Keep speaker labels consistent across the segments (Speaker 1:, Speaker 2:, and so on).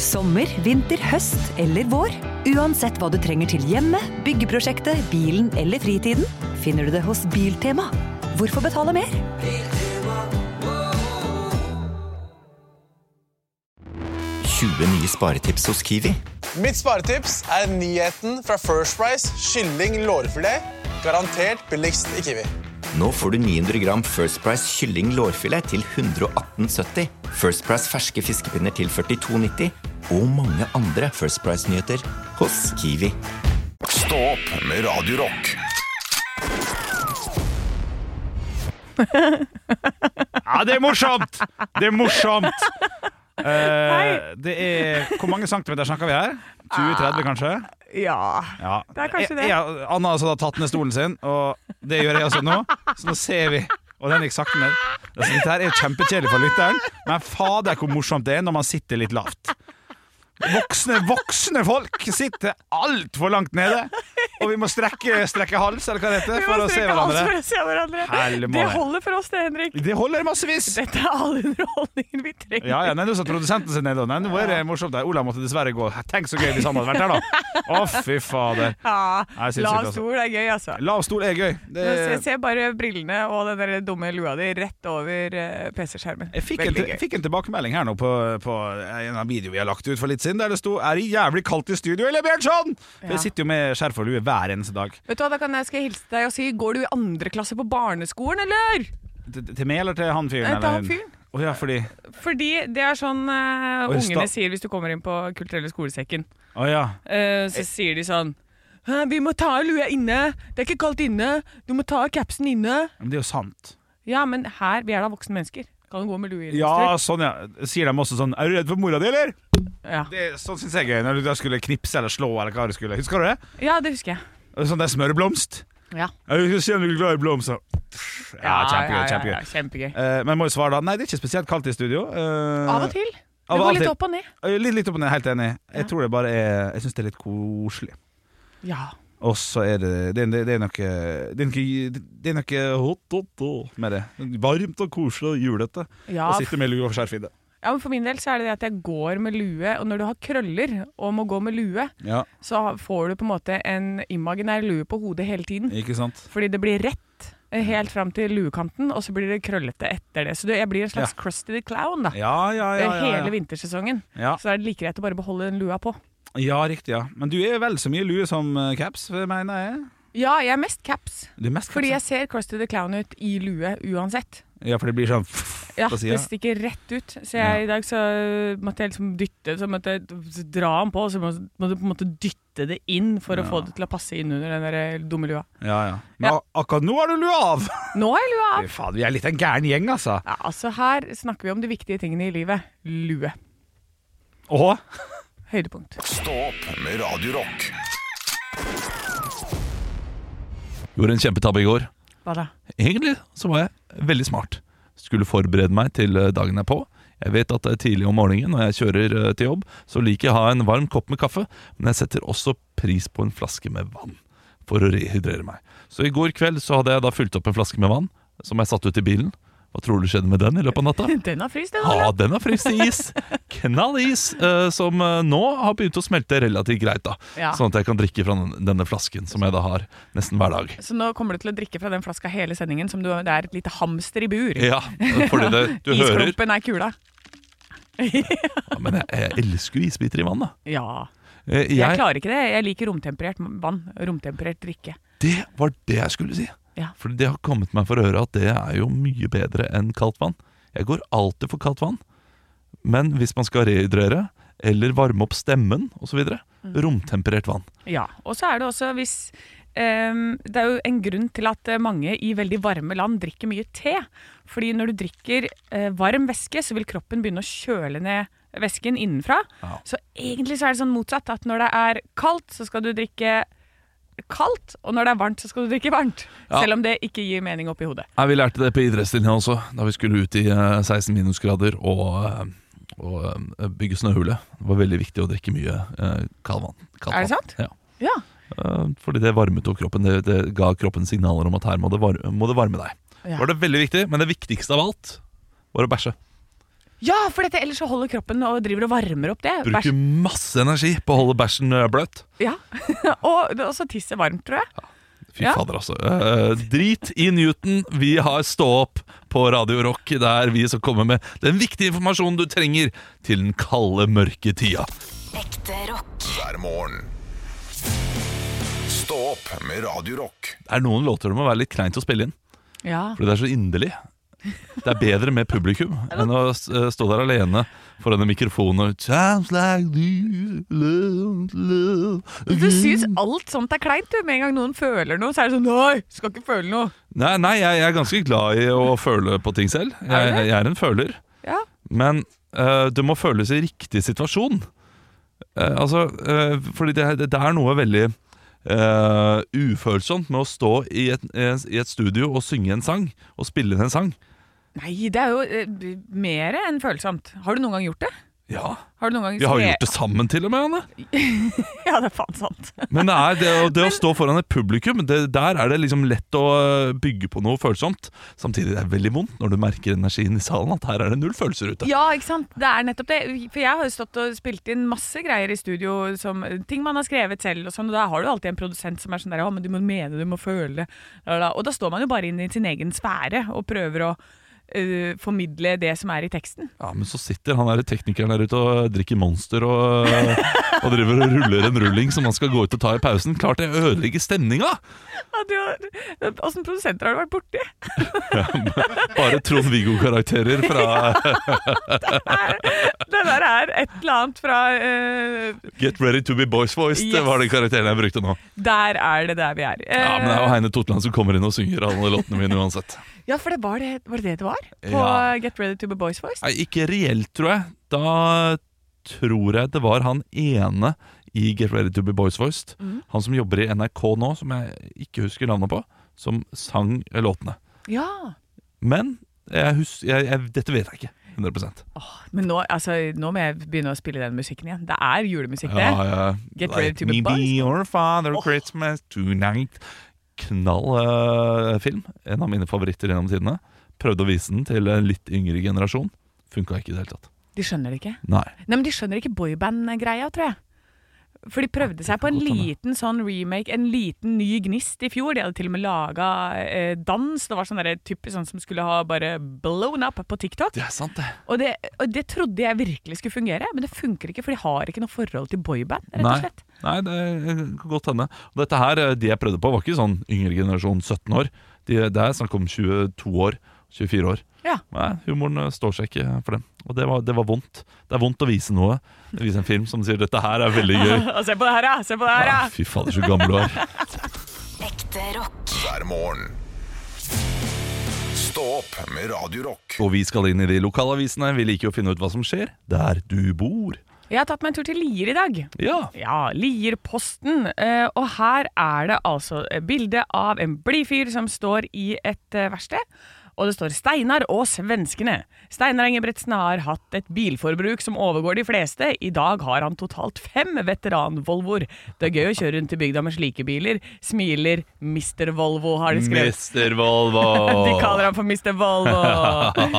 Speaker 1: Sommer, vinter, høst eller vår. Uansett hva du trenger til hjemmet, byggeprosjektet, bilen eller fritiden, finner du det hos Biltema. Hvorfor betale mer?
Speaker 2: nye sparetips hos Kiwi.
Speaker 3: Mitt sparetips er nyheten fra First Price kylling lårfilet. Garantert billigst i Kiwi.
Speaker 2: Nå får du 900 gram First Price kylling lårfilet til 118,70. First Price ferske fiskepinner til 42,90. Og mange andre First Price-nyheter hos Kiwi.
Speaker 4: Stå opp med Radio Rock.
Speaker 5: Ja, det er morsomt! Det er morsomt! Eh, det er Hvor mange centimeter snakker vi her? 20-30, kanskje?
Speaker 6: Ah, Ja.
Speaker 5: Ja.
Speaker 6: Det er kanskje det.
Speaker 5: Jeg, jeg, Anna altså, har tatt ned stolen sin, og det gjør jeg også nå. Så nå ser vi. Og den gikk sakte ned. Altså, dette her er kjempekjedelig for lytteren, men fader hvor morsomt det er når man sitter litt lavt. Voksne, voksne folk sitter altfor langt nede, og vi må strekke, strekke hals, eller hva det heter,
Speaker 6: Vi må
Speaker 5: for å se
Speaker 6: strekke alt For
Speaker 5: hverandre.
Speaker 6: å se hverandre.
Speaker 5: Helmå.
Speaker 6: Det holder for oss, det, Henrik.
Speaker 5: Det holder massevis.
Speaker 6: Dette er all underholdningen vi trenger.
Speaker 5: Ja, ja, nei, nå satt produsenten sin ned og Nei, nå er det morsomt der Ola måtte dessverre gå Tenk så gøy hvis han hadde vært her da Å fy fader
Speaker 6: Ja,
Speaker 5: Nei, sinnssykt,
Speaker 6: Lav
Speaker 5: altså.
Speaker 6: stol er gøy, altså.
Speaker 5: Lav stol er gøy det,
Speaker 6: Se, se bare brillene og den der dumme lua di rett over eh, PC-skjermen.
Speaker 5: jeg fikk en,
Speaker 6: Veldig
Speaker 5: jeg fikk en tilbakemelding her nå på, på en av videoene vi har lagt ut for litt siden Der det sto Er det jævlig kaldt i studio, eller Bjørnsson? For
Speaker 6: Ja.
Speaker 5: jeg sitter jo med skjerf og lue hver eneste dag
Speaker 6: Vet du hva, da kan jeg, skal jeg hilse deg og si Går du i andre klasse på barneskolen, eller?
Speaker 5: Til, til meg eller til han fyren?
Speaker 6: Nei, til
Speaker 5: eller
Speaker 6: han
Speaker 5: hun?
Speaker 6: fyren.
Speaker 5: Å ja, fordi
Speaker 6: Fordi det er sånn eh,
Speaker 5: Oi, sta-
Speaker 6: ungene sier hvis du kommer inn på Kulturelle skolesekken.
Speaker 5: Å ja
Speaker 6: Eh, så sier de sånn «Hæ, Vi må ta av lua inne. Det er ikke kaldt inne. Du må ta av capsen inne.
Speaker 5: Men det er jo sant
Speaker 6: Ja, men her Vi er da voksne mennesker. Kan du gå med lue i
Speaker 5: Ja, sånn ja Sier de også sånn Er du redd for mora di, eller?
Speaker 6: Ja.
Speaker 5: Det, sånn synes jeg er gøy Når du da skulle knipse eller slå Eller hva du skulle Husker du det?
Speaker 6: ja, det husker jeg.
Speaker 5: Sånn der smørblomst
Speaker 6: Ja,
Speaker 5: Ja, Vi skal se om du er glad i blomster. Ja, kjempegøy.
Speaker 6: ja,
Speaker 5: kjempegøy
Speaker 6: ja, kjempegøy.
Speaker 5: Eh, Men jeg må jo svare da Nei, det er ikke spesielt kaldt i studio. Eh,
Speaker 6: Av og til. Det
Speaker 5: av og
Speaker 6: går litt
Speaker 5: til.
Speaker 6: opp og ned.
Speaker 5: eh, Litt, litt opp og ned, helt enig. Jeg tror det bare er Jeg syns det er litt koselig.
Speaker 6: Ja.
Speaker 5: Og så er det Det, det, det er noe Det er noe, det er noe hot, hot, hot med det. Varmt og koselig og julete.
Speaker 6: Ja,
Speaker 5: Og sitter med lue og skjerf i det.
Speaker 6: Ja, men For min del så er det det at jeg går med lue, og når du har krøller og må gå med lue,
Speaker 5: Ja,
Speaker 6: så får du på en måte en imaginær lue på hodet hele tiden.
Speaker 5: ikke sant?
Speaker 6: Fordi det blir rett eh, helt fram til luekanten, og så blir det krøllete etter det. Så du, jeg blir en slags crusty the clown da.
Speaker 5: Ja, ja, ja.
Speaker 6: Det er
Speaker 5: ja,
Speaker 6: hele
Speaker 5: ja.
Speaker 6: vintersesongen.
Speaker 5: Ja.
Speaker 6: Så da er det like greit å bare beholde den lua på.
Speaker 5: ja, riktig. ja Men du er vel så mye lue som eh, caps, mener jeg.
Speaker 6: Ja, jeg er mest caps.
Speaker 5: Du er mest
Speaker 6: Fordi
Speaker 5: caps,
Speaker 6: jeg ser Crusty the Clown ut i lue
Speaker 5: ja.
Speaker 6: uansett.
Speaker 5: Ja, for det blir sånn
Speaker 6: Ja,
Speaker 5: på sida.
Speaker 6: Det stikker rett ut. Så jeg, i dag så måtte jeg liksom dytte, så måtte jeg dra den på, og så må må du på en måte dytte det inn for å få det til å passe inn under den der eh, dumme lua.
Speaker 5: Ja, ja. Men
Speaker 6: Ja.
Speaker 5: ak- akkurat nå har du lue av!
Speaker 6: Nå er lua av!
Speaker 5: Fy faen, vi er litt en gæren gjeng, altså.
Speaker 6: Ja, altså Her snakker vi om de viktige tingene i livet. Lue.
Speaker 5: Åh.
Speaker 6: Høydepunkt.
Speaker 4: Stå opp med Radio Rock.
Speaker 7: Gjorde en kjempetabbe i går.
Speaker 6: Hva da?
Speaker 7: Egentlig så var jeg veldig smart. Skulle forberede meg til eh, dagen er på. Jeg vet at det er tidlig om morgenen når jeg kjører eh, til jobb, så liker jeg å ha en varm kopp med kaffe, men jeg setter også pris på en flaske med vann for å rehydrere meg. Så i går kveld så hadde jeg da fylt opp en flaske med vann som jeg satte ut i bilen. Hva tror du skjedde med den i løpet av natta?
Speaker 6: Den har fryst, den.
Speaker 7: Ja,
Speaker 6: Olav.
Speaker 7: den er frist i is. Knallis, eh, som eh, nå har begynt å smelte relativt greit. da
Speaker 6: Ja.
Speaker 7: Sånn at jeg kan drikke fra den- denne flasken som jeg da har nesten hver dag.
Speaker 6: Så nå kommer du til å drikke fra den flaska hele sendingen som du, det er et lite hamster i bur.
Speaker 7: Ja, fordi det, du hører
Speaker 6: Isklumpen er kula.
Speaker 7: ja, Men jeg, jeg elsker jo isbiter i vann, da.
Speaker 6: Ja.
Speaker 7: Eh,
Speaker 6: Jeg,
Speaker 7: Jeg,
Speaker 6: klarer ikke det. Jeg liker romtemperert vann. Romtemperert drikke.
Speaker 7: det var det jeg skulle si.
Speaker 6: Ja.
Speaker 7: For det har kommet meg for øre at det er jo mye bedre enn kaldt vann. Jeg går alltid for kaldt vann. Men hvis man skal rehydrere, eller varme opp stemmen osv.,
Speaker 6: Mm.
Speaker 7: romtemperert vann.
Speaker 6: Ja. Og så er det også hvis ehm, Det er jo en grunn til at eh, mange i veldig varme land drikker mye te. Fordi når du drikker eh, varm væske, så vil kroppen begynne å kjøle ned væsken innenfra.
Speaker 7: Ja.
Speaker 6: Så egentlig så er det sånn motsatt. At når det er kaldt, så skal du drikke kaldt. Og når det er varmt, så skal du drikke varmt.
Speaker 7: Ja.
Speaker 6: Selv om det ikke gir mening oppi hodet.
Speaker 7: Nei, Vi lærte det på idrettslinja også, da vi skulle ut i eh, 16 minusgrader og, eh, og eh, bygge snøhule. Det var veldig viktig å drikke mye eh, kald vann. Kaldt
Speaker 6: Er det
Speaker 7: vann.
Speaker 6: sant?
Speaker 7: Ja.
Speaker 6: Ja.
Speaker 7: Eh, Fordi det varmet opp kroppen. Det, det ga kroppen signaler om at her må det varme, må det varme deg.
Speaker 6: Ja.
Speaker 7: Var det veldig viktig, Men det viktigste av alt var å bæsje.
Speaker 6: Ja, for dette, ellers så holder kroppen og driver og varmer opp det.
Speaker 7: Bruker masse energi på å holde bæsjen eh, bløt.
Speaker 6: Bæsj- Ja. og og så tisset varmt, tror jeg.
Speaker 7: Fy
Speaker 6: Ja.
Speaker 7: fader, altså. Eh, drit i Newton. Vi har Stå opp på Radio Rock, der vi skal komme med den viktige informasjonen du trenger til den kalde, mørke tida.
Speaker 8: Ekte rock.
Speaker 4: hver morgen. Stå opp med Radio Rock.
Speaker 7: Det er noen låter det må være litt kleint å spille inn,
Speaker 6: Ja.
Speaker 7: fordi det er så inderlig. Det er bedre med publikum enn å s- eh, stå der alene foran en mikrofon og Sounds like this, love, love.
Speaker 6: Du syns alt sånt er kleint, du. Med en gang noen føler noe, så er det sånn Nei, skal ikke føle noe.
Speaker 7: Nei, nei jeg, jeg er ganske glad i å føle på ting selv. Jeg, jeg er en føler.
Speaker 6: Ja.
Speaker 7: Men øh, det må føles i riktig situasjon. Eh, altså, øh, fordi det, det, det er noe veldig øh, ufølsomt med å stå i et, i et studio og synge en sang, og spille inn en sang.
Speaker 6: Nei, det er jo eh, mer enn følsomt. Har du noen gang gjort det?
Speaker 7: Ja,
Speaker 6: Har du noen gang
Speaker 7: Vi har jo gjort det sammen, til og med. Anne.
Speaker 6: Ja, det er faen sant.
Speaker 7: Men det, er, det, å- det å stå foran et publikum, det, der er det liksom lett å øh, bygge på noe følsomt. Samtidig det er veldig vondt når du merker energien i salen, at her er det null følelser ute.
Speaker 6: Ja, ikke sant? Det er nettopp det. For jeg har jo stått og spilt inn masse greier i studio, som eh, ting man har skrevet selv og sånn, og da har du alltid en produsent som er sånn der Ja, men du må mene, du må føle det. la, la, la. Og da står man jo bare inn i sin egen sfære og prøver å eh, formidle det som er i teksten.
Speaker 7: Ja, men så sitter han der teknikeren der ute og drikker Monster og, eh, og driver og ruller en rulling som han skal gå ut og ta i pausen. Klart det ødelegger stemninga!
Speaker 6: Åssen produsenter har du vært borti?
Speaker 7: Bare Trond-Viggo-karakterer fra
Speaker 6: Det der er et eller annet fra eh,
Speaker 7: Get Ready To Be Boys Voiced, det var den karakteren jeg brukte nå.
Speaker 6: Der er det der vi er. Eh,
Speaker 7: Ja, Men det er jo Heine Totland som kommer inn og synger alle låtene mine uansett.
Speaker 6: ja, for det var det var det det det var? På
Speaker 7: Ja.
Speaker 6: eh, Get Ready To Be Boys Voice?
Speaker 7: Nei, ikke reelt, tror jeg. Da tror jeg det var han ene i Get Ready To Be Boys Voiced, han som jobber i NRK nå, som jeg ikke husker navnet på, som sang låtene.
Speaker 6: Ja.
Speaker 7: Men jeg hus jeg, jeg, dette vet jeg ikke. 100
Speaker 6: Men nå, altså, nå må jeg begynne å spille den musikken igjen. Det er julemusikk, det.
Speaker 7: Ja, ja.
Speaker 6: Get ready to be
Speaker 7: me
Speaker 6: buzzed.
Speaker 7: your father Christmas tonight. Knall eh, film. En av mine favoritter gjennom tidene. Prøvde å vise den til en litt yngre generasjon. Funka ikke i det hele tatt.
Speaker 6: De skjønner det ikke.
Speaker 7: Nei.
Speaker 6: Nei, men de skjønner ikke boyband-greia, tror jeg. For de prøvde seg på en
Speaker 7: godt hende.
Speaker 6: liten sånn remake, en liten ny gnist i fjor. De hadde til og med laga eh, dans. Det var sånn derre typisk sånn som skulle ha bare blown up på TikTok.
Speaker 7: Det er sant, det.
Speaker 6: Og det, og det trodde jeg virkelig skulle fungere, men det funker ikke, for de har ikke noe forhold til boyband, rett
Speaker 7: Nei.
Speaker 6: og slett.
Speaker 7: Nei, det kan godt hende. Og dette her, eh, de jeg prøvde på, var ikke sånn yngre generasjon 17 år. De, det er snakk om 22 år. 24 år.
Speaker 6: Ja.
Speaker 7: Nei, humoren eh, står seg ikke for dem. Og det var, det var vondt. Det er vondt å vise noe. Vise en film som sier 'dette her er veldig gøy'.
Speaker 6: Og se på det her, ja! Se på det her, ja!
Speaker 7: Ah, fy fader, så gammel du er.
Speaker 8: Ekte rock.
Speaker 4: hver morgen. Stå opp med Radio Rock.
Speaker 7: Og vi skal inn i de lokalavisene. Vi liker jo å finne ut hva som skjer der du bor.
Speaker 6: Jeg har tatt meg en tur til Lier i dag.
Speaker 7: Ja,
Speaker 6: Ja, Lierposten. Eh, og her er det altså eh, bilde av en blid fyr som står i et eh, verksted. Og det står 'Steinar og svenskene'. Steinar Engebretsen har hatt et bilforbruk som overgår de fleste. I dag har han totalt fem veteran-Volvoer. Det er gøy å kjøre rundt i bygda med slike biler. Smiler Mr. Volvo, har de skrevet.
Speaker 7: Mester Volvo.
Speaker 6: De kaller ham for Mr. Volvo.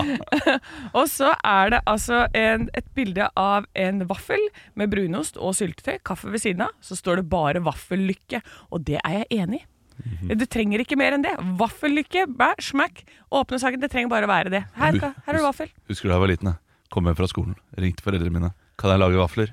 Speaker 6: og så er det altså en, et bilde av en vaffel med brunost og syltetøy, kaffe ved siden av. Så står det bare 'vaffellykke', og det er jeg enig i. Du trenger ikke mer enn det. Vaffellykke, bæ, smakk. Åpne saken. Det trenger bare å være det. Her, her er det vaffel.
Speaker 7: Husker du da jeg var liten? jeg? Kom hjem fra skolen, ringte foreldrene mine. Kan jeg lage vafler?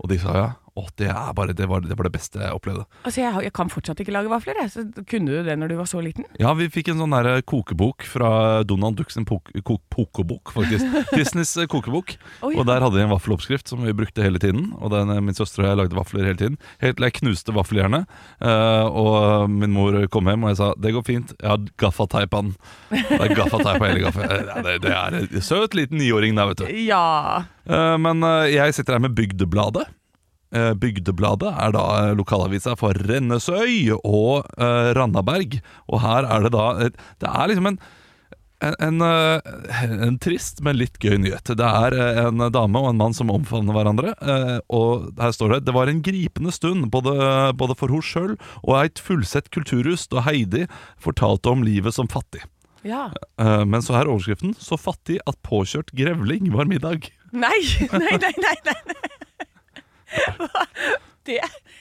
Speaker 7: Og de sa ja. Å, det, er bare, det, var, det var det beste jeg opplevde.
Speaker 6: Altså, jeg, har- jeg kan fortsatt ikke lage vafler, jeg. Så kunne du det når du var så liten?
Speaker 7: Ja, vi fikk en sånn der kokebok fra Donald Ducks en pok kok pokebok, faktisk. Disneys eh, kokebok.
Speaker 6: Å, ja.
Speaker 7: Og der hadde de en vaffeloppskrift som vi brukte hele tiden. Og den, eh, min søster og jeg lagde vafler hele tiden. Helt til jeg knuste vaffeljernet. eh, og min mor kom hjem, og jeg sa det går fint, jeg har gaffateip på den. Det er gaffateip på hele gaffa. Eh, Det, det er en søt liten niåring der, vet du.
Speaker 6: Ja.
Speaker 7: Eh, men eh, jeg sitter her med Bygdebladet. Eh, Bygdebladet er da eh, lokalavisa for Rennesøy og eh, Randaberg. Og her er det da et- Det er liksom en en, en, eh, en trist, men litt gøy nyhet. Det er eh, en dame og en mann som omfavner hverandre. eh, Og her står det Det var en gripende stund, både, både for henne sjøl og eit fullsett kulturhus, da Heidi fortalte om livet som fattig.
Speaker 6: Ja.
Speaker 7: Eh, Men så her er overskriften 'Så fattig at påkjørt grevling var middag'.
Speaker 6: Nei, nei, nei, nei. nei. Hva? Det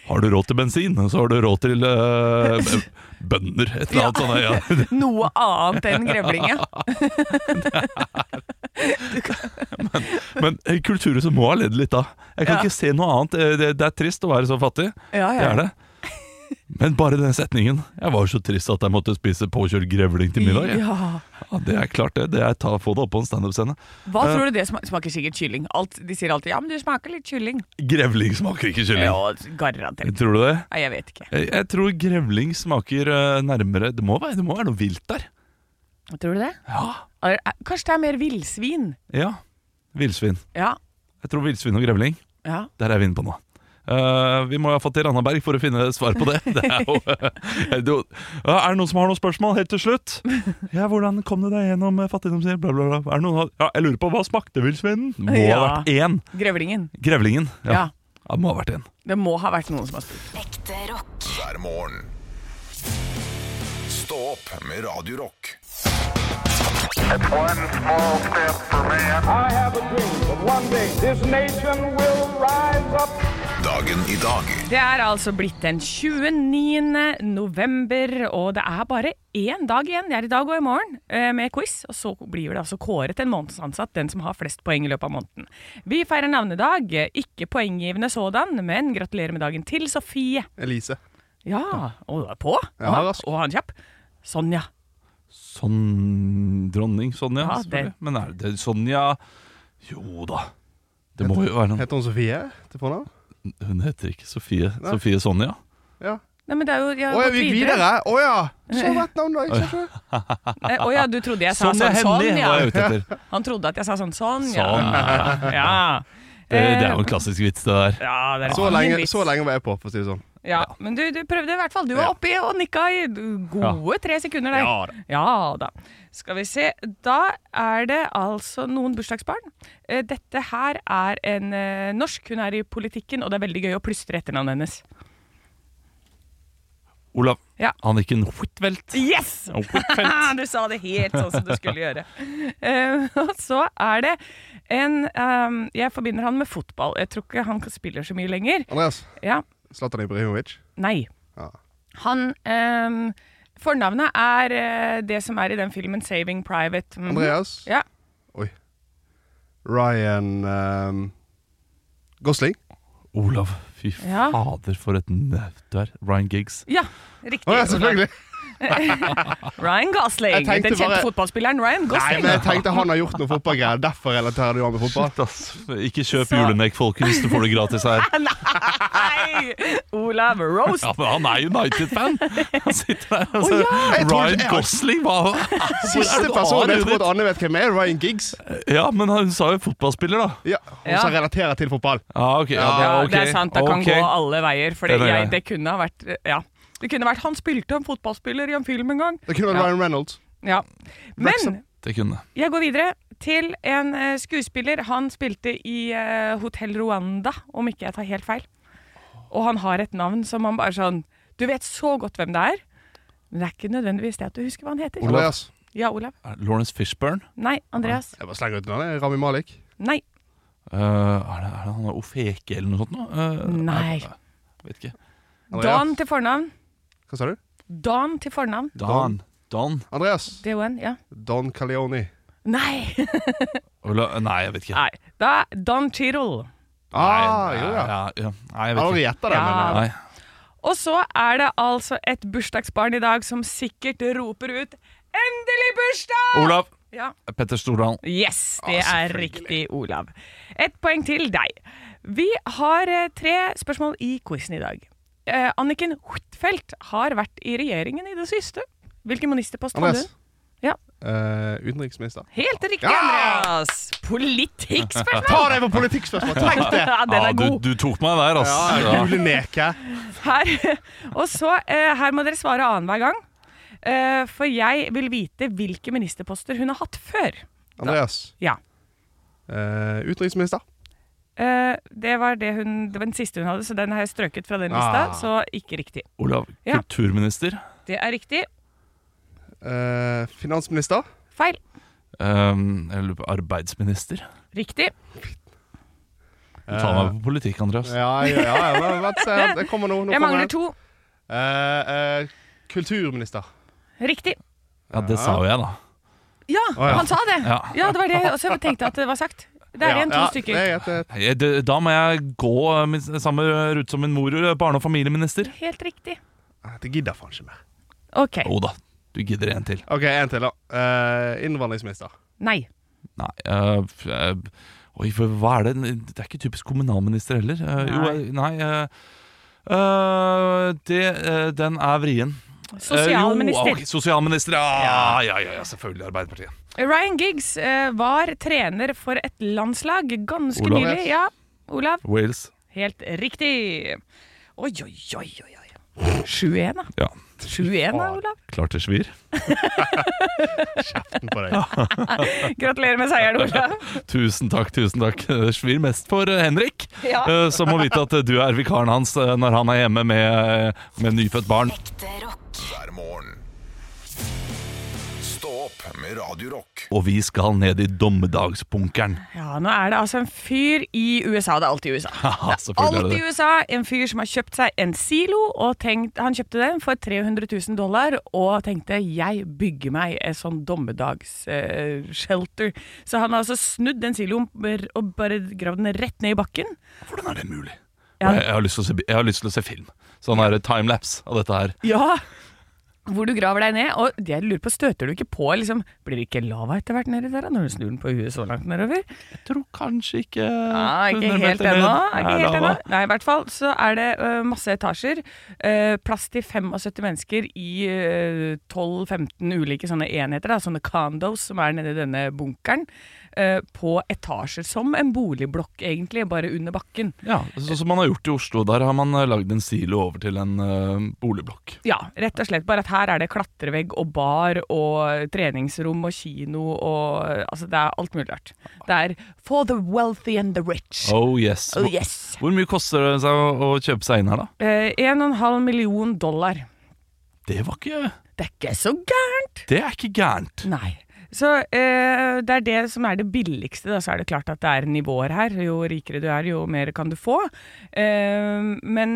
Speaker 7: Har du råd til bensin, så har du råd til eh, b- bønder. Et eller annet sånt. Ja.
Speaker 6: Noe annet enn grevling, ja.
Speaker 7: Men eh, kulturhuset må ha ledd litt da. Jeg kan
Speaker 6: Ja.
Speaker 7: ikke se noe annet. Eh, Det, det er trist å være så fattig.
Speaker 6: Ja,
Speaker 7: Det
Speaker 6: ja.
Speaker 7: er det. Men bare den setningen. Jeg var så trist at jeg måtte spise påkjørt grevling til middag. jeg.
Speaker 6: Ja.
Speaker 7: Ja, det er klart, det. Det er ta, Få det opp på en standup-scene.
Speaker 6: Hva
Speaker 7: Eh.
Speaker 6: tror du det smaker? Smaker sikkert kylling. Alt, de sier alltid 'ja, men du smaker litt kylling'.
Speaker 7: Grevling smaker ikke kylling.
Speaker 6: Ja, garantert.
Speaker 7: Tror du det?
Speaker 6: Nei, jeg vet ikke.
Speaker 7: Jeg, jeg tror grevling smaker eh, nærmere Det må være, det må være noe vilt der.
Speaker 6: Tror du det?
Speaker 7: Ja.
Speaker 6: Er- er- eh, Kanskje det er mer villsvin?
Speaker 7: ja. Villsvin.
Speaker 6: Ja.
Speaker 7: Jeg tror villsvin og grevling.
Speaker 6: ja.
Speaker 7: Der er vi inne på nå. Eh, vi må iallfall til Randaberg for å finne svar på det. det er, jo, er det jo- Ja, er det noen som har noen spørsmål helt til slutt? Ja, Hvordan kom du deg gjennom eh, fattigdomshjelp? Bla, bla, bla. Er det noen, ja, jeg lurer på, Hva smakte villsvinen? Må ha
Speaker 6: Ja.
Speaker 7: vært én.
Speaker 6: Grevlingen.
Speaker 7: Grevlingen. Ja.
Speaker 6: Ja.
Speaker 7: ja. det må ha vært én.
Speaker 6: Det må ha vært noen som har spurt.
Speaker 8: Ekte rock.
Speaker 4: hver morgen. Stå opp med Radio Rock.
Speaker 9: One small step for man. I have a dream that one day this nation will rise up.
Speaker 4: Dagen i dag
Speaker 6: Det er altså blitt den 29. november, og det er bare én dag igjen. Det er i dag og i morgen eh, med quiz, og så blir det altså kåret en månedsansatt, den som har flest poeng i løpet av måneden. Vi feirer navnedag, eh, ikke poenggivende sådan, men gratulerer med dagen til Sofie.
Speaker 10: Elise.
Speaker 6: Ja, og du er på?
Speaker 10: Ja,
Speaker 6: og,
Speaker 10: rask.
Speaker 6: og han kjapp. Sonja.
Speaker 7: Sånn, dronning Sonja.
Speaker 6: Ja,
Speaker 7: selvfølgelig.
Speaker 6: det-
Speaker 7: Men er det Sonja Jo da. Det må jo være noen
Speaker 10: Heter hun Sofie til fornavn?
Speaker 7: Hun heter ikke Sofie. Sofie Sonja.
Speaker 10: Ja.
Speaker 6: Nei, men det er jo jeg
Speaker 10: Å,
Speaker 6: har
Speaker 10: jeg
Speaker 6: gått
Speaker 10: vil videre! Å ja! Så rett navn, da. Ikke sant?
Speaker 6: Eh, Å ja, du trodde jeg sa
Speaker 7: Sonja
Speaker 6: sånn sånn,
Speaker 7: Hennie
Speaker 6: ja.
Speaker 7: var jeg ute etter.
Speaker 6: Han trodde at jeg sa sånn sånn, ja.
Speaker 7: Sånn.
Speaker 6: ja. Eh,
Speaker 7: Det, det er jo en klassisk vits, det der.
Speaker 6: Ja, det er en
Speaker 10: Så
Speaker 6: fin
Speaker 10: lenge,
Speaker 6: vits.
Speaker 10: så lenge var jeg på, for å si det sånn.
Speaker 6: Ja, men du, du prøvde i hvert fall. Du var oppi og nikka i gode tre sekunder der.
Speaker 10: Ja da.
Speaker 6: Ja da. Skal vi se. Da er det altså noen bursdagsbarn. Eh, Dette her er en eh, norsk. Hun er i politikken, og det er veldig gøy å plystre etternavnet hennes.
Speaker 7: Olav.
Speaker 6: Ja.
Speaker 7: Anniken Huitfeldt.
Speaker 6: Yes!
Speaker 7: Huitfeldt.
Speaker 6: du sa det helt sånn som du skulle gjøre. Eh, Og så er det en eh, Jeg forbinder han med fotball. Jeg tror ikke han spiller så mye lenger.
Speaker 10: Andreas.
Speaker 6: Ja,
Speaker 10: Zlatan Ibrahimovic.
Speaker 6: Nei.
Speaker 10: Ja.
Speaker 6: Han ehm, Fornavnet er eh, det som er i den filmen 'Saving Private'. Mhm.
Speaker 10: Andreas.
Speaker 6: Ja.
Speaker 10: Oi. Ryan ehm, Gosling.
Speaker 7: Olav. Fy
Speaker 6: Ja.
Speaker 7: fader, for et nøtt du er. Ryan Giggs.
Speaker 6: ja, riktig.
Speaker 10: Å ja, selvfølgelig!
Speaker 6: Ryan Gosling.
Speaker 10: Jeg
Speaker 6: Den
Speaker 10: tenkte
Speaker 6: kjente
Speaker 10: bare-
Speaker 6: fotballspilleren Ryan
Speaker 10: Nei,
Speaker 6: Gosling.
Speaker 10: men jeg tenkte han har gjort noe fotballgreier. Derfor relaterer du han med fotball.
Speaker 7: Shit, ass. Ikke kjøp
Speaker 6: Så-
Speaker 7: julenek, folkens. Du får det gratis her.
Speaker 6: Nei! Olav Roast.
Speaker 7: Ja, men Han er United-fan! Han sitter der og
Speaker 6: Å,
Speaker 7: sier
Speaker 6: ja.
Speaker 10: Jeg tror
Speaker 7: Ryan
Speaker 10: ikke-
Speaker 7: Gosling, hva
Speaker 10: Siste person jeg tror at Anne vet hvem er, Ryan Giggs.
Speaker 7: Ja, men hun sa jo fotballspiller, da.
Speaker 10: Ja, Hun
Speaker 6: Ja.
Speaker 10: som relaterer til fotball.
Speaker 7: Ja, ok.
Speaker 6: Ja,
Speaker 7: ok.
Speaker 6: det er sant. Det kan
Speaker 7: Ok.
Speaker 6: gå alle veier. For
Speaker 7: Den er grei.
Speaker 6: jeg, Ah, det kunne ha vært Ja. Det kunne vært Han spilte en fotballspiller i en film en gang.
Speaker 10: Det kunne vært
Speaker 6: Ja.
Speaker 10: Ryan Reynolds.
Speaker 6: Ja. Men
Speaker 10: Wrexham.
Speaker 7: Det kunne.
Speaker 6: Jeg går videre til en eh, skuespiller. Han spilte i uh, Hotell Rwanda, om ikke jeg tar helt feil. Og han har et navn som han bare sånn Du vet så godt hvem det er, men det er ikke nødvendigvis det at du husker hva han heter.
Speaker 10: Andreas.
Speaker 6: Ja, Olav.
Speaker 7: Er det Lawrence Fishburne?
Speaker 6: Nei, Andreas.
Speaker 10: Jeg bare slenger ut navnet. Rami Malik.
Speaker 6: Nei.
Speaker 7: Eh, er, det, er det han er Ofeke eller noe sånt? nå? Eh,
Speaker 6: Nei.
Speaker 7: Vet ikke.
Speaker 10: Andreas.
Speaker 6: Dan til fornavn.
Speaker 10: Hva sa du?
Speaker 6: Dan til fornavn.
Speaker 7: Dan. Dan?
Speaker 10: Andreas.
Speaker 6: D-O-N, ja.
Speaker 10: Don Caleone.
Speaker 6: Nei!
Speaker 7: Ola- eh, Nei, jeg vet ikke.
Speaker 6: Nei. Da Don Chirol.
Speaker 10: Ah, jo da.
Speaker 7: ja, ja. Nei, jeg
Speaker 10: Jeg har
Speaker 7: vet
Speaker 10: aldri
Speaker 7: ikke.
Speaker 10: gjetta det,
Speaker 6: Ja.
Speaker 10: men
Speaker 7: Nei.
Speaker 6: Og så er det altså et bursdagsbarn i dag som sikkert roper ut 'Endelig bursdag!'
Speaker 7: Olav.
Speaker 6: Ja.
Speaker 7: Petter Stordalen.
Speaker 6: Yes, det er riktig, Olav. Et poeng til deg. Vi har eh, tre spørsmål i quizen i dag. Eh, Anniken Huitfeldt har vært i regjeringen i det siste. Hvilken ministerpost hadde
Speaker 10: Andreas.
Speaker 6: hun? Ja.
Speaker 10: Eh, utenriksminister.
Speaker 6: Helt riktig,
Speaker 10: Ja!
Speaker 6: Andreas! Politikkspørsmål!
Speaker 10: Ta deg på politikkspørsmål! Tenk det!
Speaker 6: Ja, den
Speaker 7: Ja,
Speaker 6: er
Speaker 7: du,
Speaker 6: god.
Speaker 7: du tok meg der, ass.
Speaker 10: Ja,
Speaker 7: Ja.
Speaker 10: Juleneke.
Speaker 6: Her, og så, eh, her må dere svare annenhver gang. Eh, for jeg vil vite hvilke ministerposter hun har hatt før.
Speaker 10: Andreas.
Speaker 6: Ja.
Speaker 10: Eh, utenriksminister.
Speaker 6: Eh, det var det hun, det var den siste hun hadde, så den har jeg strøket fra den lista.
Speaker 10: Ah.
Speaker 6: Så ikke riktig.
Speaker 7: Olav,
Speaker 6: Ja.
Speaker 7: kulturminister.
Speaker 6: Det er riktig.
Speaker 10: Eh, finansminister.
Speaker 6: Feil.
Speaker 7: Ehm, jeg lurer på arbeidsminister.
Speaker 6: Riktig.
Speaker 7: Du tar meg på politikk, Andreas.
Speaker 10: Ja, ja, ja, ja men vent, se, det kommer nå. nå
Speaker 6: Jeg
Speaker 10: kommer
Speaker 6: mangler
Speaker 10: det.
Speaker 6: to.
Speaker 10: Eh, eh, kulturminister.
Speaker 6: Riktig.
Speaker 7: Ja, det sa jo jeg, da.
Speaker 6: Ja,
Speaker 10: ja.
Speaker 6: han sa det.
Speaker 7: Ja.
Speaker 6: Ja, det var det jeg også tenkte at det var sagt. Det er
Speaker 10: Ja,
Speaker 6: igjen to
Speaker 10: ja,
Speaker 6: stykker.
Speaker 10: Det er et, et,
Speaker 7: Jeg- det- Da må jeg gå eh, min, samme rute som min mor, barne- og familieminister.
Speaker 6: Helt riktig.
Speaker 10: Ah, det gidder jeg faen ikke mer.
Speaker 6: OK.
Speaker 7: Jo da, du gidder en til.
Speaker 10: OK, en til, da. Eh, innvandringsminister.
Speaker 6: Nei.
Speaker 7: Nei øh, f- øh, Oi, for hva er det? Det er ikke typisk kommunalminister heller. Eh, jo,
Speaker 6: Nei.
Speaker 7: eh, nei eh, eh, det, eh, den er vrien. Eh, jo, ok,
Speaker 6: Sosialminister.
Speaker 7: sosialminister, ja, ja, ja, ja, selvfølgelig. Arbeiderpartiet.
Speaker 6: Ryan Giggs eh, var trener for et landslag ganske
Speaker 7: Olav.
Speaker 6: nylig. Ja, Olav.
Speaker 7: Wales.
Speaker 6: Helt riktig. Oi, oi, oi, oi. oi. 7-1, da.
Speaker 7: Ja.
Speaker 6: 7-1 da, Olav.
Speaker 7: Klart det svir.
Speaker 10: På deg.
Speaker 6: Gratulerer med seieren, Olav.
Speaker 7: Tusen takk, tusen takk. Det svir mest for eh, Henrik,
Speaker 6: Ja.
Speaker 7: eh, som må vite at eh, du er vikaren hans eh, når han er hjemme med, eh, med nyfødt barn.
Speaker 8: Ekte rock.
Speaker 4: hver morgen. Stå opp med Radio Rock.
Speaker 7: Og vi skal ned i dommedagsbunkeren.
Speaker 6: Ja, nå er det altså en fyr i USA. Det er alltid i USA.
Speaker 7: Haha, selvfølgelig er
Speaker 6: Alt i
Speaker 7: det det.
Speaker 6: USA. En fyr som har kjøpt seg en silo, og tenkt, han kjøpte den for 300 000 dollar, og tenkte 'jeg bygger meg et sånn dommedags-shelter'. Så han har altså snudd den siloen ber- og bare gravd den rett ned i bakken.
Speaker 7: Hvordan er det mulig?
Speaker 6: Ja.
Speaker 7: Jeg, jeg, har lyst til å se, jeg har lyst til å se film. Sånn her timelapse av dette her.
Speaker 6: Ja! Hvor du graver deg ned, og jeg lurer på, støter du ikke på liksom, Blir det ikke lava etter hvert nedi der, da, når du snur den på huet så langt nedover?
Speaker 7: Jeg tror kanskje ikke
Speaker 6: Ja, ikke helt ennå. Ikke helt ennå. Nei, i hvert fall så er det ø, masse etasjer. ø, plass til 75 mennesker i ø, 12-15 ulike sånne enheter, da, sånne condos som er nede i denne bunkeren. ø, på etasjer, som en boligblokk egentlig, bare under bakken.
Speaker 7: Ja, Sånn som man har gjort i Oslo. Der har man eh, lagd en silo over til en eh, boligblokk.
Speaker 6: Ja, rett og slett. Bare at her er det klatrevegg og bar og treningsrom og kino og Altså, det er alt mulig rart. Det er for the wealthy and the rich.
Speaker 7: Oh yes.
Speaker 6: Oh, yes.
Speaker 7: Hvor mye koster det seg å, å kjøpe seg inn her, da?
Speaker 6: Eh, 1,5 million dollar.
Speaker 7: Det var ikke
Speaker 6: Det er ikke så gærent!
Speaker 7: Det er ikke gærent.
Speaker 6: Nei. Så eh, det er det som er det billigste. Da. Så er det klart at det er nivåer her. Jo rikere du er, jo mer kan du få. Eh, men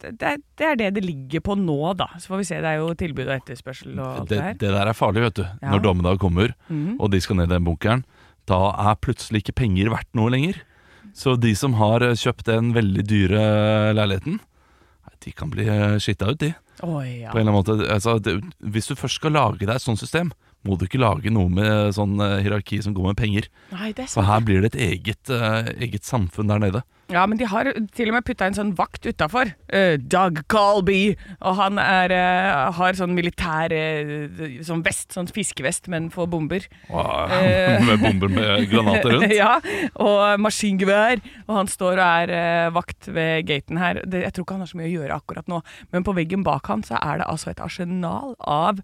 Speaker 6: det, er- det er det det ligger på nå, da. Så får vi se. Det er jo tilbud og etterspørsel og alt
Speaker 7: Det,
Speaker 6: det her. Mhm.
Speaker 7: det der er farlig, vet du. Når dommedag kommer, og de skal ned i den bunkeren, da er plutselig ikke penger verdt noe lenger. Så de som har eh, kjøpt den veldig dyre eh, leiligheten, nei, de kan bli eh, skitta ut, de.
Speaker 6: Oi, ja.
Speaker 7: På en eller annen måte altså, det, Hvis du først skal lage deg et sånt system, må du ikke lage noe med sånn eh, hierarki som går med penger.
Speaker 6: Nei, det er
Speaker 7: For
Speaker 6: sant.
Speaker 7: her blir det et eget, eh, eget samfunn der nede.
Speaker 6: Ja, men de har til og med putta en sånn vakt utafor. Doug Colby. Og han er, eh, har sånn militær eh, sånn vest, sånn fiskevest, men for bomber.
Speaker 7: Wow,
Speaker 6: Eh.
Speaker 7: med bomber med granater rundt.
Speaker 6: ja, og maskingevær. Og han står og er eh, vakt ved gaten her. Det, jeg tror ikke han har så mye å gjøre akkurat nå, men på veggen bak han så er det altså et arsenal av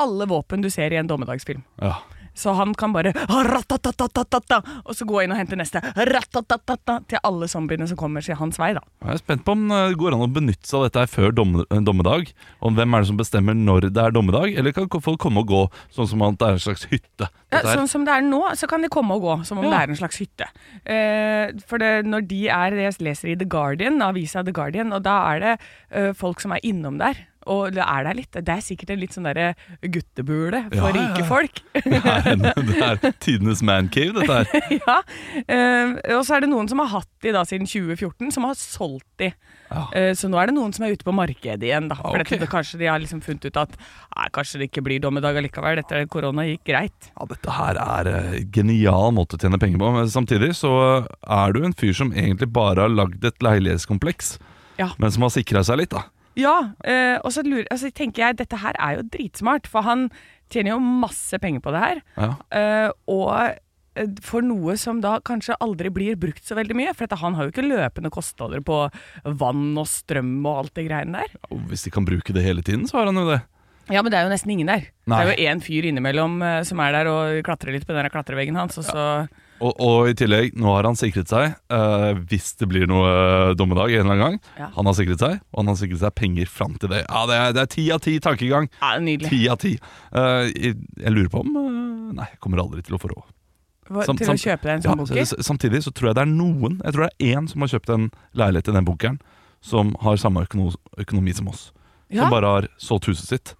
Speaker 6: alle våpen du ser i en dommedagsfilm.
Speaker 7: Ja.
Speaker 6: Så han kan bare ratatatatata, og så gå inn og hente neste ratatatata, til alle zombiene som kommer seg hans vei, da.
Speaker 7: Jeg er spent på om eh, det går an å benytte seg av dette her før domme- dommedag. Om hvem er det som bestemmer når det er dommedag, eller kan folk komme og gå, sånn som at det er en slags hytte.
Speaker 6: Ja,
Speaker 7: Dette her.
Speaker 6: sånn som det er nå, så kan de komme og gå, som om det er en slags hytte. Eh, for det, når de er Jeg leser i The Guardian, avisa The Guardian, og da er det eh, folk som er innom der. Og det er der litt. Det er sikkert en litt sånn derre guttebule for
Speaker 7: Ja, ja, ja.
Speaker 6: rike folk.
Speaker 7: Nei, det er tidenes mancave, dette her.
Speaker 6: ja. Eh, og så er det noen som har hatt de da siden 2014, som har solgt de.
Speaker 7: Ja.
Speaker 6: Eh, så nå er det noen som er ute på markedet igjen, da. For
Speaker 7: Ah, ok.
Speaker 6: dette, kanskje de har liksom funnet ut at nei, kanskje det ikke blir dommedag allikevel. Dette korona gikk greit.
Speaker 7: Ja, dette her er eh, genial måte å tjene penger på. Men samtidig så eh, er du en fyr som egentlig bare har lagd et leilighetskompleks,
Speaker 6: Ja.
Speaker 7: men som har sikra seg litt, da.
Speaker 6: Ja, eh, og så lurer, altså, tenker jeg dette her er jo dritsmart, for han tjener jo masse penger på det her.
Speaker 7: Ja.
Speaker 6: Eh, og eh, for noe som da kanskje aldri blir brukt så veldig mye, for dette, han har jo ikke løpende kostnader på vann og strøm og alt det greiene der.
Speaker 7: Og Hvis de kan bruke det hele tiden, så har han jo det.
Speaker 6: Ja, men det er jo nesten ingen der.
Speaker 7: Nei.
Speaker 6: Det er jo én fyr innimellom eh, som er der og klatrer litt på den der klatreveggen hans, og så
Speaker 7: Og, og i tillegg, nå har han sikret seg, eh, hvis det blir noe eh, dommedag en eller annen gang
Speaker 6: Ja.
Speaker 7: Han har sikret seg, og han har sikret seg penger fram til det. Ja, Det er, det er ti av ti tankegang.
Speaker 6: Ja, det er nydelig.
Speaker 7: Ti av ti. Eh, jeg, jeg lurer på om eh, Nei, jeg kommer aldri til å få råd.
Speaker 6: Hva-
Speaker 7: Sam-
Speaker 6: til å
Speaker 7: sam-
Speaker 6: kjøpe deg en
Speaker 7: Ja,
Speaker 6: sånn bunker?
Speaker 7: s- samtidig så tror jeg det er noen Jeg tror det er én som har kjøpt en leilighet i den bunkeren, som har samme økono økonomi som oss.
Speaker 6: Ja.
Speaker 7: Som bare har solgt huset sitt.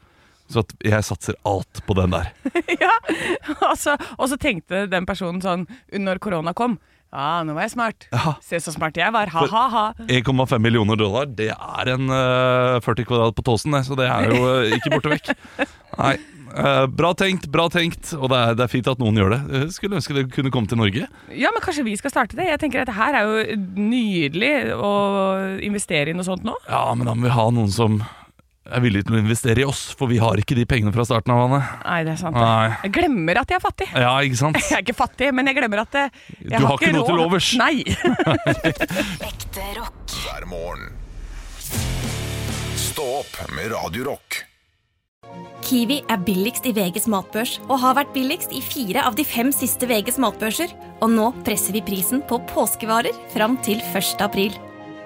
Speaker 7: Så at jeg satser alt på den der.
Speaker 6: ja. Og så, og så tenkte den personen sånn når korona kom. Ja, nå var jeg smart.
Speaker 7: Ja.
Speaker 6: Se så smart jeg var. Ha, ha, ha.
Speaker 7: 1,5 millioner dollar, det er en eh, 40 kvadrat på Tåsen, det, så det er jo eh, ikke borte vekk. Nei. eh, bra tenkt, bra tenkt, og det er, det er fint at noen gjør det. Jeg skulle ønske det kunne komme til Norge.
Speaker 6: Ja, men kanskje vi skal starte det? Jeg tenker at det her er jo nydelig å investere i noe sånt nå.
Speaker 7: Ja, men da må vi ha noen som er villig til å investere i oss, for vi har ikke de pengene fra starten av. Anne.
Speaker 6: Nei, det er sant.
Speaker 7: Nei.
Speaker 6: Jeg glemmer at jeg er fattig.
Speaker 7: Ja, ikke sant?
Speaker 6: Jeg er ikke fattig, men jeg glemmer at jeg, jeg
Speaker 7: Du har ikke noe til
Speaker 6: råd.
Speaker 7: overs.
Speaker 6: Nei.
Speaker 8: Ekte rock.
Speaker 4: hver morgen. Stå opp med Radio Rock.
Speaker 11: Kiwi er billigst i VGs matbørs og har vært billigst i fire av de fem siste VGs matbørser. Og nå presser vi prisen på påskevarer fram til 1. april.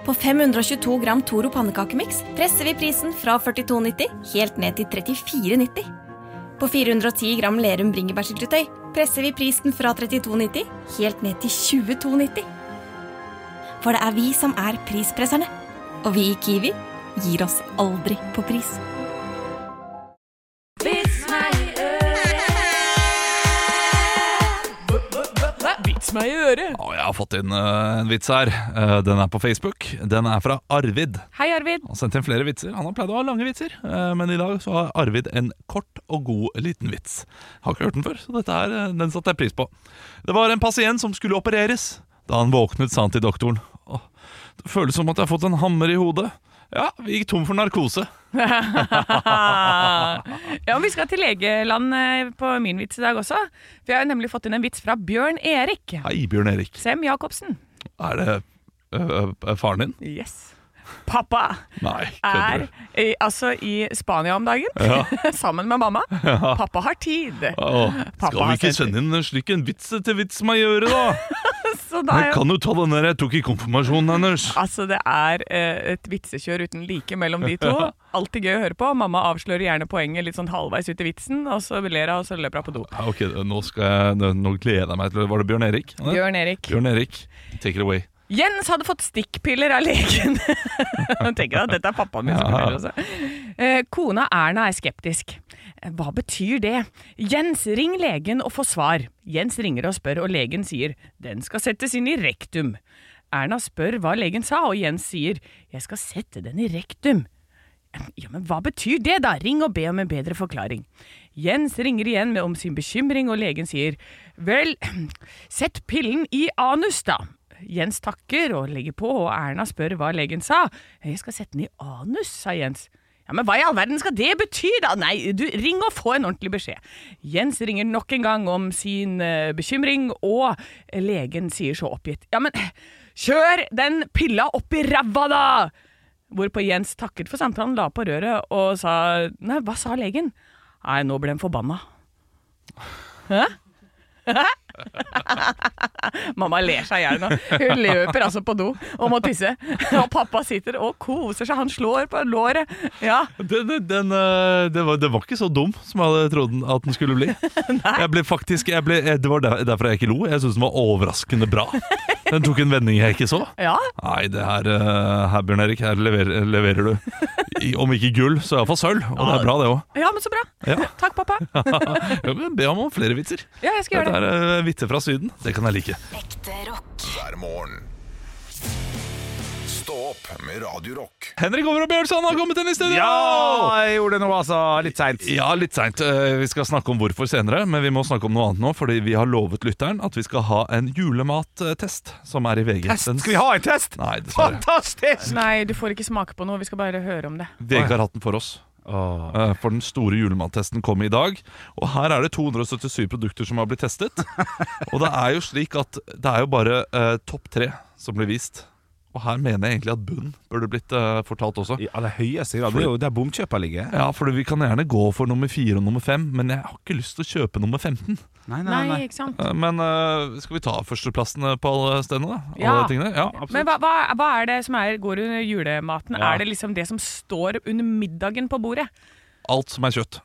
Speaker 11: På 522 gram Toro pannekakemiks presser vi prisen fra 42,90 helt ned til 34,90. På 410 gram Lerum bringebærsyltetøy presser vi prisen fra 32,90 helt ned til 22,90. For det er vi som er prispresserne. Og vi i Kiwi gir oss aldri på pris.
Speaker 6: Vits meg i øret.
Speaker 7: Å, jeg har fått inn eh, en vits her. Eh, den er på Facebook. Den er fra Arvid.
Speaker 6: Hei, Arvid.
Speaker 7: Han sendte inn flere vitser. Han har pleid å ha lange vitser, eh, men i dag så har Arvid en kort og god liten vits. Jeg har ikke hørt den før, så dette her, eh, den satte jeg pris på. Det var en pasient som skulle opereres. Da han våknet, sa han til doktoren Åh, Det føles som at jeg har fått en hammer i hodet. Ja, vi gikk tom for narkose.
Speaker 6: ja, men Vi skal til legeland eh, på min vits i dag også. Vi har jo nemlig fått inn en vits fra Bjørn Erik.
Speaker 7: Hei, Bjørn Erik.
Speaker 6: Sem Jacobsen.
Speaker 7: Er det øh, øh, faren din?
Speaker 6: Yes. Pappa
Speaker 7: Nei,
Speaker 6: er
Speaker 7: kødder du?
Speaker 6: i, altså i Spania om dagen, sammen med mamma. Pappa har tid.
Speaker 7: Åh, skal
Speaker 6: har
Speaker 7: vi ikke
Speaker 6: sendt-
Speaker 7: sende inn en slik en vits til vits meg i øret, da?
Speaker 6: Så da er
Speaker 7: Jeg kan jo ta den der jeg tok i konfirmasjonen hennes.
Speaker 6: Altså, det er eh, et vitsekjør uten like mellom de to. Alltid gøy å høre på. Mamma avslører gjerne poenget litt sånn halvveis ut i vitsen, og så ler hun, og så løper hun på do.
Speaker 7: Ja, Ok, nå, skal jeg, nå- nå gleder jeg meg til Var det Bjørn Erik? han het?
Speaker 6: Bjørn Erik.
Speaker 7: Bjørn Erik, take it away.
Speaker 6: Jens hadde fått stikkpiller av legen. Han tenker at dette er pappaen min som forteller også. Eh, Kona Erna er skeptisk. Eh, Hva betyr det? Jens, ring legen og få svar. Jens ringer og spør, og legen sier den skal settes inn i rektum. Erna spør hva legen sa, og Jens sier jeg skal sette den i rektum. Ja, men hva betyr det da? Ring og be om en bedre forklaring. Jens ringer igjen med om sin bekymring, og legen sier vel, sett pillen i anus da. Jens takker og legger på, og Erna spør hva legen sa. Jeg skal sette den i anus, sa Jens. Ja, men hva i all verden skal det bety da? Nei, du, ring og få en ordentlig beskjed. Jens ringer nok en gang om sin eh, bekymring, og legen sier så oppgitt. Ja, men kjør den pilla opp i ræva da! Hvorpå Jens takket for samtalen, la på røret og sa Nei, hva sa legen? Nei, nå ble han forbanna. Hæ? Mamma ler seg i hjel nå. Hun løper altså på do og må tisse. Og pappa sitter og koser seg. Han slår på låret. Ja,
Speaker 7: Den, den, den, øh, det, var, det var ikke så dum som jeg hadde trodd den- at den skulle bli. Jeg ble faktisk, jeg ble, jeg- Det var der, derfor jeg ikke lo. Jeg syntes den var overraskende bra. Den tok en vending jeg ikke så.
Speaker 6: ja.
Speaker 7: Nei, det her, øh, her Bjørn Erik, her leverer, leverer du. I, om ikke gull, så iallfall sølv. Og
Speaker 6: Ah.
Speaker 7: det er bra, det òg.
Speaker 6: ja men så bra.
Speaker 7: Ja.
Speaker 6: Takk, pappa.
Speaker 7: Be om flere vitser.
Speaker 6: Ja, jeg skal
Speaker 7: Dette
Speaker 6: gjøre det.
Speaker 7: er øh, vitser fra Syden. Det kan jeg like.
Speaker 8: Ekte rock.
Speaker 4: hver morgen. Stå opp med Radio Rock.
Speaker 7: Henrik Over og Bjørnson har kommet inn i studio!
Speaker 5: Ja, jeg gjorde det nå, altså. Litt seint.
Speaker 7: Ja, litt seint. Eh, Vi skal snakke om hvorfor senere, men vi må snakke om noe annet nå. Fordi vi har lovet lytteren at vi skal ha en julemattest eh, som er i VG. Den-
Speaker 5: Skal vi ha en test?
Speaker 7: Nei, dessverre.
Speaker 5: Fantastisk!
Speaker 6: Nei, du får ikke smake på noe. Vi skal bare høre om det.
Speaker 7: VG har hatt den for oss. Eh, For den store julemattesten kom i dag. Og her er det 277 produkter som har blitt testet. Og det er jo slik at det er jo bare eh, topp tre som blir vist. Og her mener jeg egentlig at bunn burde blitt eh, fortalt også.
Speaker 5: Ja, det høyeste grad. Det er jo der bomkjøper ligger.
Speaker 7: Ja, for vi kan gjerne gå for nummer fire og nummer fem, men jeg har ikke lyst til å kjøpe nummer 15.
Speaker 5: Nei,
Speaker 6: nei, Nei, ikke sant?
Speaker 7: Eh, Men eh, skal vi ta førsteplassen eh, på alle stedene? da? Alle
Speaker 6: Ja.
Speaker 7: tingene? Ja, absolutt.
Speaker 6: Men hva, hva, hva er det som er, går under julematen?
Speaker 7: Ja.
Speaker 6: Er det liksom det som står under middagen på bordet?
Speaker 7: Alt som er kjøtt,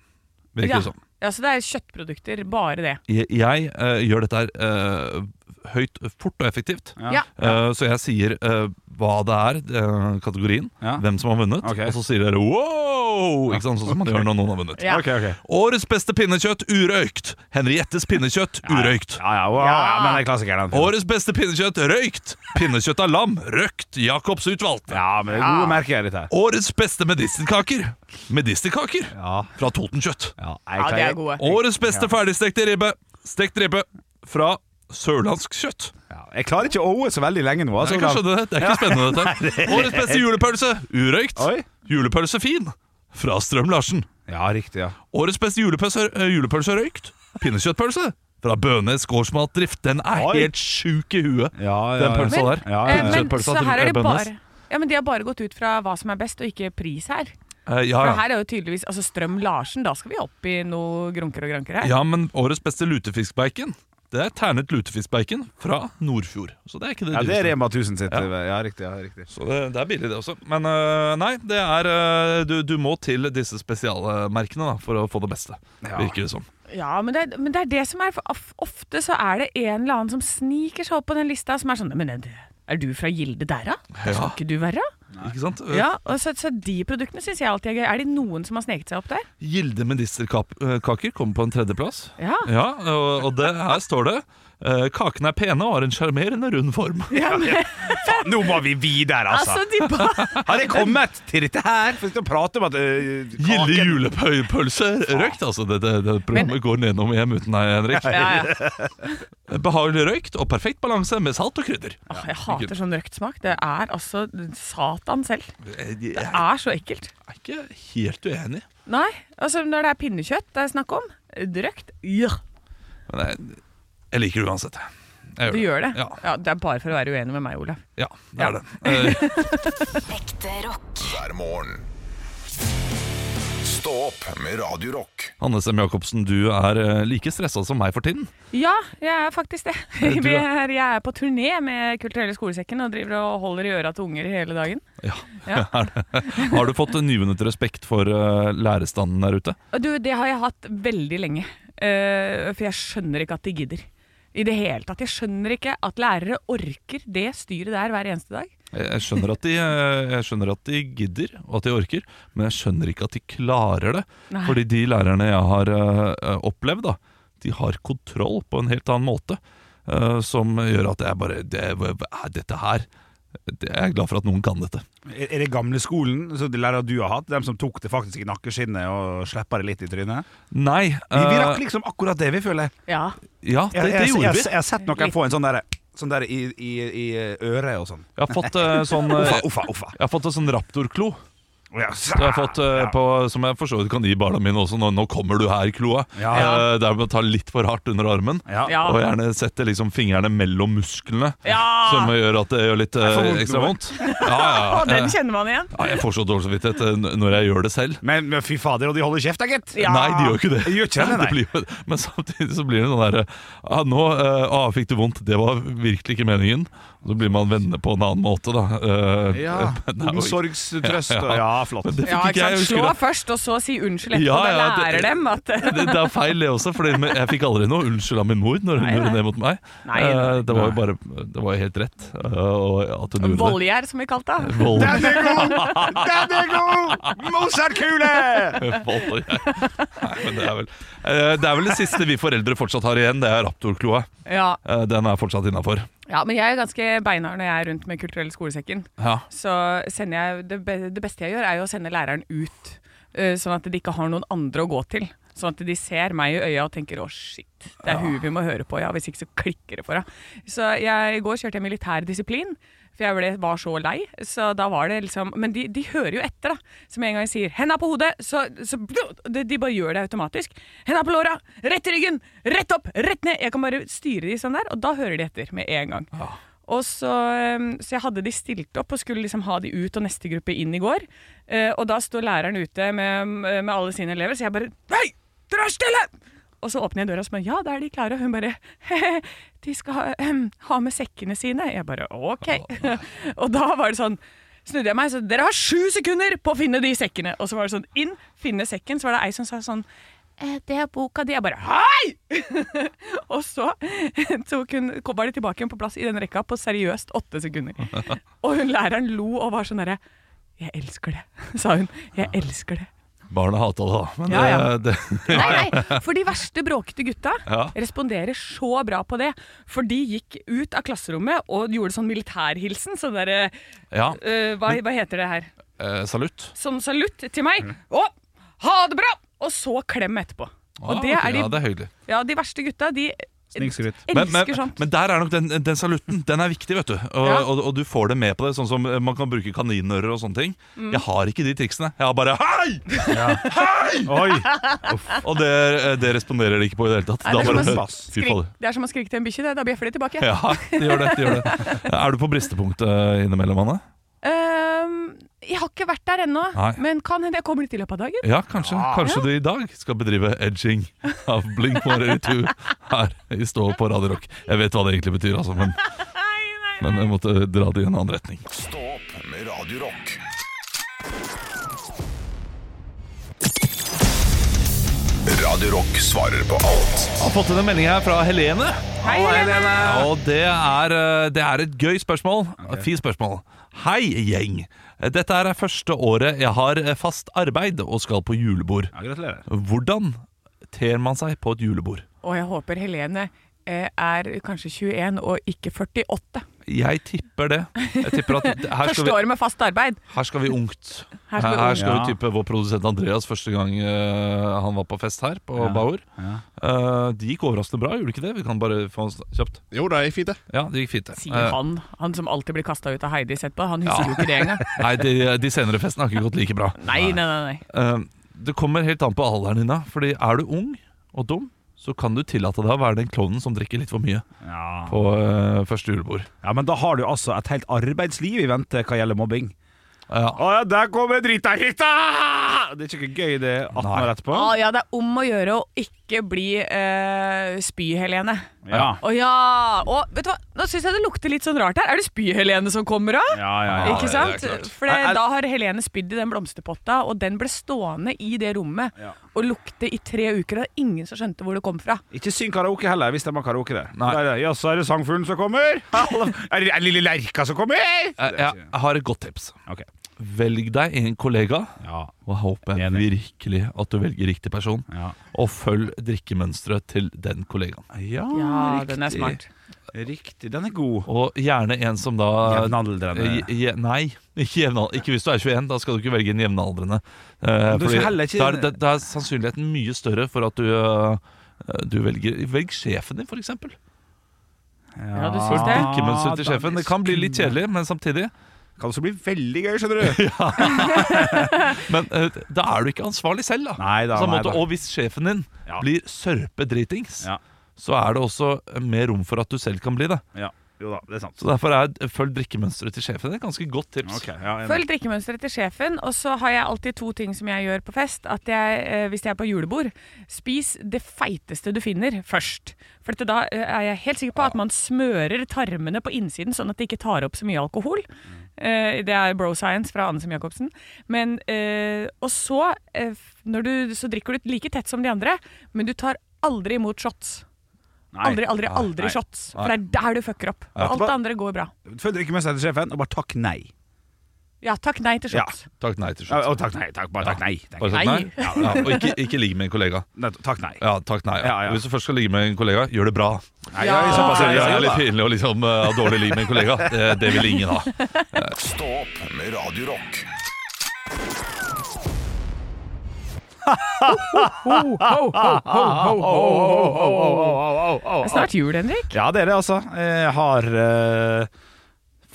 Speaker 7: virker
Speaker 6: ja.
Speaker 7: det som.
Speaker 6: ja, så det er kjøttprodukter, bare det.
Speaker 7: Jeg, jeg eh, gjør dette her eh, høyt, fort og effektivt.
Speaker 6: Ja.
Speaker 7: Eh, så jeg sier eh, hva det er, eh, kategorien, hvem som har vunnet, og så sier dere wow! Ikke sant? Sånn som man gjør når noen har vunnet.
Speaker 5: Ja. Ok, ok.
Speaker 7: Årets beste pinnekjøtt urøykt. Henriettes pinnekjøtt urøykt.
Speaker 5: Ja, ja, wow, ja, men det er klassikeren. den.
Speaker 7: Årets beste pinnekjøtt røykt. Pinnekjøtt av lam røkt. Jacobs utvalgte.
Speaker 5: Ja, men det er gode merker, dette her.
Speaker 7: Årets beste medisterkaker. Medisterkaker fra Totenkjøtt.
Speaker 5: Ja, de er gode.
Speaker 7: Årets beste ferdigstekte ribbe. Stekt ribbe fra sørlandsk kjøtt.
Speaker 5: Jeg klarer ikke å oe så veldig lenge nå.
Speaker 7: Nei,
Speaker 5: Altså,
Speaker 7: jeg kan skjønne det. Det er ikke
Speaker 5: Ja.
Speaker 7: spennende,
Speaker 5: Nei,
Speaker 7: dette.
Speaker 5: det-
Speaker 7: Årets beste julepølse. Urøykt. Julepølse fin. Fra Strøm-Larsen.
Speaker 5: Ja, riktig, ja.
Speaker 7: Årets beste julepølse, eh, julepølse røykt. Pinnekjøttpølse. Fra Bønes gårdsmatdrift. Den er
Speaker 5: Oi.
Speaker 7: helt sjuk i huet,
Speaker 5: ja,
Speaker 7: den
Speaker 5: ja.
Speaker 7: pølsa der.
Speaker 5: Ja, ja, ja.
Speaker 6: Eh, Men
Speaker 7: Pinnekjøttpølsa
Speaker 6: så her er
Speaker 7: til
Speaker 6: det
Speaker 7: Bønes.
Speaker 6: bare ja, men De har bare gått ut fra hva som er best, og ikke pris her.
Speaker 7: Eh, ja,
Speaker 6: For
Speaker 7: ja.
Speaker 6: her er jo tydeligvis altså Strøm-Larsen, da skal vi opp i noe grunker og granker her.
Speaker 7: Ja, men årets beste lutefiskbacon Det er ternet lutefiskbacon fra Nordfjord Så det er ikke det
Speaker 5: Ja, det er
Speaker 7: dyreste.
Speaker 5: Rema 1000 sitt. eh,
Speaker 7: Ja.
Speaker 5: Ja, riktig. ja, riktig
Speaker 7: Så det, det er billig det også Men øh, nei, det er øh, du, du må til disse spesialmerkene da, For å få det beste Virker det som
Speaker 6: Ja, men det, er- men det er det som er for of- Ofte så er det en eller annen som sniker seg opp på den lista som er sånn Men er- er du fra Gilde der, da? Det
Speaker 7: Ja.
Speaker 6: skal ikke du være.
Speaker 7: Ikke sant? Øh,
Speaker 6: Ja, og så, så de produktene syns jeg alltid er gøy. Er det noen som har sneket seg opp der?
Speaker 7: Gilde medisterkaker kommer på en tredjeplass
Speaker 6: Ja.
Speaker 7: og, og det, her står det øh, Kakene er pene og har en sjarmerende rund form
Speaker 6: Ja, men,
Speaker 5: Faen, nå må vi videre, altså!
Speaker 6: altså, de bare
Speaker 5: Har jeg kommet til dette her? For å prate om at øh,
Speaker 7: Gilde
Speaker 5: kaken-
Speaker 7: julepølse røykt Altså det, det, det programmet går nedom hjem uten deg, Henrik
Speaker 6: ja, ja.
Speaker 7: Behagelig røykt og perfekt balanse med salt og krydder.
Speaker 6: Åh, Jeg hater sånn røkt smak. Det er altså Satan selv.
Speaker 7: Jeg
Speaker 6: Det
Speaker 7: er
Speaker 6: er så ekkelt.
Speaker 7: ikke helt uenig.
Speaker 6: Nei, altså når det er pinnekjøtt det er snakk om, røkt ja,
Speaker 7: Men jeg, jeg liker det uansett.
Speaker 6: Du
Speaker 7: Jeg
Speaker 6: gjør det?
Speaker 7: Ja,
Speaker 6: Ja, det er bare for å være uenig med meg, Olav.
Speaker 7: ja det er det. Eh,
Speaker 8: Ekte rock.
Speaker 4: hver morgen. Stå opp med Radio Rock.
Speaker 7: Hanne Sem Jacobsen, du er eh, like stressa som meg for tiden.
Speaker 6: Ja, jeg er faktisk det.
Speaker 7: Er du
Speaker 6: Vi er, jeg er på turné med Kulturelle skolesekken og driver og holder i øra til unger hele dagen. Ja.
Speaker 7: Er det- Har du fått nyvunnet respekt for eh, lærerstanden der ute?
Speaker 6: Og Du, det har jeg hatt veldig lenge. eh, for jeg skjønner ikke at de gidder. I det hele tatt. Jeg skjønner ikke at lærere orker det styret der hver eneste dag.
Speaker 7: Jeg jeg skjønner, at de, eh, jeg skjønner at de gidder og at de orker, men jeg skjønner ikke at de klarer det.
Speaker 6: Nei.
Speaker 7: Fordi de lærerne jeg har eh, opplevd, da, de har kontroll på en helt annen måte. eh, som gjør at jeg bare det, hva er Dette her det, Jeg er glad for at noen kan dette.
Speaker 5: Er er det gamle skolen så de lærere du har hatt? Dem som tok det faktisk i nakkeskinnet og slippa det litt i trynet?
Speaker 7: Nei.
Speaker 5: Vi, vi
Speaker 7: eh,
Speaker 5: rakk liksom akkurat det, vi føler.
Speaker 6: Ja.
Speaker 7: ja, det,
Speaker 5: Jeg,
Speaker 7: det
Speaker 5: jeg, jeg,
Speaker 7: gjorde
Speaker 5: jeg,
Speaker 7: vi.
Speaker 5: har sett noen få en sånn derre sånn der i, i, i øret og sånn.
Speaker 7: Jeg har fått eh, sånn eh,
Speaker 5: Uffa, uffa, uffa.
Speaker 7: Jeg har fått en sånn raptorklo.
Speaker 5: Ja,
Speaker 7: Det har jeg fått, eh, på, som jeg for så vidt kan gi barna mine også. Nå, nå kommer du her, kloa.
Speaker 5: Ja.
Speaker 7: Eh, der man tar litt for hardt under armen.
Speaker 6: Ja.
Speaker 7: Og gjerne sette liksom fingrene mellom musklene,
Speaker 6: Ja.
Speaker 7: som gjør at det gjør litt eh,
Speaker 5: vondt
Speaker 7: ekstra
Speaker 5: nå.
Speaker 7: vondt. Ja, ja,
Speaker 6: Og den
Speaker 7: ja.
Speaker 6: kjenner man igjen.
Speaker 7: ja, jeg får så dårlig samvittighet eh, n- når jeg gjør det selv.
Speaker 5: Men, men fy fader, og de holder kjeft da, gitt!
Speaker 6: Ja.
Speaker 7: Nei, de gjør ikke det.
Speaker 5: De gjør ikke det, nei.
Speaker 7: det blir, jo- men samtidig så blir det noe derre ah, 'Nå eh, ah, fikk du vondt. Det var virkelig ikke meningen.' Og så blir man venner på en annen måte, da. Eh,
Speaker 5: Ja,
Speaker 7: men det er jo-
Speaker 5: Omsorgstrøst
Speaker 7: Ja,
Speaker 5: og
Speaker 7: ja.
Speaker 5: Ja, flott.
Speaker 7: Men det fikk
Speaker 6: Ja,
Speaker 7: ikke
Speaker 6: ikke
Speaker 7: jeg,
Speaker 6: sant?
Speaker 7: jeg husker
Speaker 6: Slå
Speaker 7: det.
Speaker 6: først, og så si unnskyld etterpå.
Speaker 7: Ja, ja,
Speaker 6: da
Speaker 7: det-
Speaker 6: lærer dem at
Speaker 7: det, det er feil det også, for jeg fikk aldri noe unnskyld av min mor når hun
Speaker 6: Nei,
Speaker 7: gjorde
Speaker 6: nei.
Speaker 7: det mot meg.
Speaker 6: Nei,
Speaker 7: Eh,
Speaker 6: nei.
Speaker 7: det var jo bare Det var jo helt rett eh, og at hun gjorde det.
Speaker 6: Voldgjær, som vi kalte det.
Speaker 7: Vold.
Speaker 5: Den er god! Den er god! Mozart-kule!
Speaker 7: Vold, ja. Nei, men det er, vel, eh, det er vel det siste vi foreldre fortsatt har igjen, det er raptorkloa.
Speaker 6: Ja.
Speaker 7: Eh, Den er fortsatt innafor.
Speaker 6: ja, men jeg er ganske beinhard når jeg er rundt med Kulturelle skolesekken.
Speaker 7: Ja.
Speaker 6: Så sender jeg, det, be- det beste jeg gjør, er jo å sende læreren ut, eh, sånn at de ikke har noen andre å gå til. Sånn at de ser meg i øya og tenker 'å, shit, det er hun vi må høre på', ja. Hvis ikke så klikker det for henne. Så jeg, i går kjørte jeg militær disiplin, for jeg ble, var så lei. Så da var det liksom Men de, de hører jo etter, da. Så med en gang jeg sier 'henda på hodet', så, så de, de bare gjør det automatisk. 'Henda på låra', rett i ryggen, rett opp, rett ned. Jeg kan bare styre de sånn der, og da hører de etter med en gang. Og så, um, så jeg hadde de stilt opp og skulle liksom ha de ut og neste gruppe inn i går. Eh, og da står læreren ute med, med alle sine elever, så jeg bare Hei, dere er stille! Og så åpner jeg døra og spør ja, da er de klare. Og hun bare «Hehe, de skal ha, ehm, ha med sekkene sine. Jeg bare ok. og da var det sånn snudde jeg meg, så dere har sju sekunder på å finne de sekkene. Og så var det sånn inn, finne sekken. Så var det ei som sa sånn «Eh, det er boka di. Jeg bare hei! og så tok hun, kom- var de tilbake igjen på plass i den rekka på seriøst åtte sekunder. Og hun læreren lo og var sånn derre Jeg elsker det, sa hun. Jeg elsker det.
Speaker 7: Barna hata det, da. Men
Speaker 6: Ja, ja.
Speaker 7: det, det
Speaker 6: Nei, nei, for de verste bråkete gutta
Speaker 7: Ja.
Speaker 6: responderer så bra på det. For de gikk ut av klasserommet og gjorde sånn militærhilsen. Sånn derre
Speaker 7: Ja.
Speaker 6: eh, hva, hva heter det her?
Speaker 7: Eh, salutt.
Speaker 6: Sånn salutt til meg.
Speaker 7: Mm.
Speaker 6: Og ha det bra! Og så klem etterpå. Og
Speaker 7: Ah,
Speaker 6: det
Speaker 7: ok,
Speaker 6: er de,
Speaker 7: Ja, det er hyggelig.
Speaker 6: ja, de verste gutta, de
Speaker 5: Snikskryt.
Speaker 7: Men,
Speaker 6: elsker
Speaker 7: men,
Speaker 6: sånt.
Speaker 7: men der er nok den, den salutten Den er viktig, vet du. Og,
Speaker 6: Ja.
Speaker 7: og, og du får det med på det. Sånn som man kan bruke kaninører og sånne ting.
Speaker 6: Mm.
Speaker 7: Jeg har ikke de triksene. Jeg har bare hei! Hei!
Speaker 5: Oi.
Speaker 7: Og det, eh, det responderer de ikke på i det hele tatt.
Speaker 6: Nei, det, er
Speaker 7: Da
Speaker 6: som å
Speaker 7: bare, fy
Speaker 6: skrik,
Speaker 7: fader.
Speaker 6: det er som å skrike til en bikkje, det. Da bjeffer de tilbake.
Speaker 7: Ja, det gjør det. det, gjør det. Er du på bristepunktet innimellom, Anne?
Speaker 6: Ehm, jeg har ikke vært der ennå,
Speaker 7: Nei.
Speaker 6: men kan hende jeg kommer dit i løpet av dagen.
Speaker 7: Ja, kanskje. Kanskje du i dag skal bedrive edging av Blink 182 her i Stå på Radio Rock. Jeg vet hva det egentlig betyr, altså, men, men jeg måtte dra det i en annen retning.
Speaker 4: Stå opp med Radio Rock. Radio Rock svarer på alt.
Speaker 7: Jeg har fått inn en melding her fra Helene.
Speaker 6: Hei, Helene!
Speaker 7: Og det er, eh, det er et gøy spørsmål. Fint spørsmål. Hei, gjeng. Dette er første året jeg har eh, fast arbeid og skal på julebord.
Speaker 5: gratulerer.
Speaker 7: Hvordan ter man seg på et julebord?
Speaker 6: Og jeg håper Helene eh, er kanskje 21 og ikke 48.
Speaker 7: Jeg tipper det. Jeg tipper at her skal
Speaker 6: Første
Speaker 7: vi,
Speaker 6: året med fast arbeid.
Speaker 7: her skal vi ungt.
Speaker 6: Her skal vi
Speaker 7: Her skal
Speaker 6: ungt.
Speaker 7: vi tippe vår produsent Andreas første gang eh, han var på fest her, på
Speaker 5: Ja.
Speaker 7: Bauer.
Speaker 5: Ja.
Speaker 7: Eh, det gikk overraskende bra, gjorde det ikke det? Vi kan bare få oss kjapt.
Speaker 10: Jo, det gikk fint, det.
Speaker 7: Ja, det gikk fint, det.
Speaker 6: Sier
Speaker 7: Eh,
Speaker 6: han, han som alltid blir kasta ut av Heidi etterpå. Han husker jo ikke det engang.
Speaker 7: Nei, de, de senere festene har ikke gått like bra.
Speaker 6: Nei, nei, nei. nei.
Speaker 7: Eh, det kommer helt an på alderen din, da. Fordi er du ung og dum, så kan du tillate deg å være den klovnen som drikker litt for mye
Speaker 5: Ja.
Speaker 7: på eh, første julebord.
Speaker 5: Ja, men da har du altså et helt arbeidsliv i vente hva gjelder mobbing.
Speaker 7: Ja.
Speaker 5: Å, ja, der kommer drita hit! ah! Det er ikke gøy, det 18 år etterpå.
Speaker 6: Å ja, det er om å gjøre å ikke bli eh, spy-Helene.
Speaker 5: Ja.
Speaker 6: Å ja! Å, vet du hva? Nå syns jeg det lukter litt sånn rart her. Er det spy-Helene som kommer, da?
Speaker 5: Ja, ja, ja.
Speaker 6: ikke
Speaker 7: det-
Speaker 6: sant?
Speaker 7: det er klart.
Speaker 6: For det- da har Helene spydd i den blomsterpotta, og den ble stående i det rommet
Speaker 5: Ja.
Speaker 6: og lukte i tre uker, og det er ingen som skjønte hvor det kom fra.
Speaker 5: Ikke syng karaoke heller, hvis de har karaoke der.
Speaker 7: Nei.
Speaker 5: Der er det, Jaså, er det sangfuglen som kommer? Er det er det lille lerka som kommer?
Speaker 7: Jeg, jeg, jeg har et godt tips.
Speaker 5: Ok.
Speaker 7: Velg deg en kollega,
Speaker 5: Ja.
Speaker 7: og jeg håper jeg
Speaker 5: Enig.
Speaker 7: virkelig at du velger riktig person.
Speaker 5: Ja.
Speaker 7: Og følg drikkemønsteret til den kollegaen.
Speaker 6: Ja, den er smart.
Speaker 5: Riktig. Den er god.
Speaker 7: Og gjerne en som da
Speaker 5: Jevnaldrende.
Speaker 7: Eh, je- Nei, ikke jevnaldrende. Ikke hvis du er 21. Da skal du ikke velge en jevnaldrende. Eh,
Speaker 5: du skal
Speaker 7: fordi
Speaker 5: heller ikke-
Speaker 7: da, er, da, da er sannsynligheten mye større for at du, eh, du velger Velg sjefen din, f.eks.
Speaker 6: Ja, du syns
Speaker 5: Ah,
Speaker 6: det?
Speaker 7: Drikkemønsteret til sjefen. Det kan bli litt kjedelig, men samtidig
Speaker 5: Kan også bli veldig gøy, skjønner du.
Speaker 7: Men eh, da er du ikke ansvarlig selv, da.
Speaker 5: Nei da,
Speaker 7: På
Speaker 5: nei
Speaker 7: samme
Speaker 5: da.
Speaker 7: måte, og hvis sjefen din
Speaker 5: Ja.
Speaker 7: blir sørpedritings,
Speaker 5: Ja.
Speaker 7: så er det også mer rom for at du selv kan bli det.
Speaker 5: Ja. Jo da, det er sant.
Speaker 7: Så derfor er følg drikkemønsteret til sjefen. Det er et ganske godt tips.
Speaker 5: Ok, ja, enig.
Speaker 6: Følg drikkemønsteret til sjefen, og så har jeg alltid to ting som jeg gjør på fest. At jeg, eh, hvis jeg er på julebord, spis det feiteste du finner først. For at da eh, er jeg helt sikker på at man smører tarmene på innsiden, sånn at det ikke tar opp så mye alkohol. Eh, Det er bro science fra Anne Sem Jacobsen. Men, eh, og så, eh, f- når du, så drikker du like tett som de andre, men du tar aldri imot shots.
Speaker 5: Nei.
Speaker 6: Aldri, aldri, aldri
Speaker 5: Nei.
Speaker 6: shots. For det er der du fucker opp.
Speaker 5: Ja.
Speaker 6: Alt det andre går bra.
Speaker 5: Følg drikkemønsteret til sjefen, og bare takk nei.
Speaker 6: Ja, takk nei til
Speaker 5: Ja.
Speaker 6: shots.
Speaker 7: Takk nei til slutt.
Speaker 5: Ja, og takk nei. Takk, bare takk nei. Takk
Speaker 7: Bare
Speaker 5: nei.
Speaker 7: sagt
Speaker 6: Nei.
Speaker 7: nei? Ja, og ikke, ikke ligg med en kollega.
Speaker 5: Nei, Takk nei.
Speaker 7: Ja, takk nei.
Speaker 5: Ja, ja.
Speaker 7: Hvis du først skal ligge med en kollega, gjør det bra.
Speaker 5: Nei, ja, i såpass,
Speaker 7: det
Speaker 5: ja,
Speaker 7: er litt
Speaker 5: da.
Speaker 7: pinlig å liksom, eh, ha dårlig ligg med en kollega. Det, det vil ingen ha.
Speaker 4: Stå opp med Radio Rock.
Speaker 6: Det er snart jul, Henrik.
Speaker 5: Ja, det er det, altså. Jeg har eh,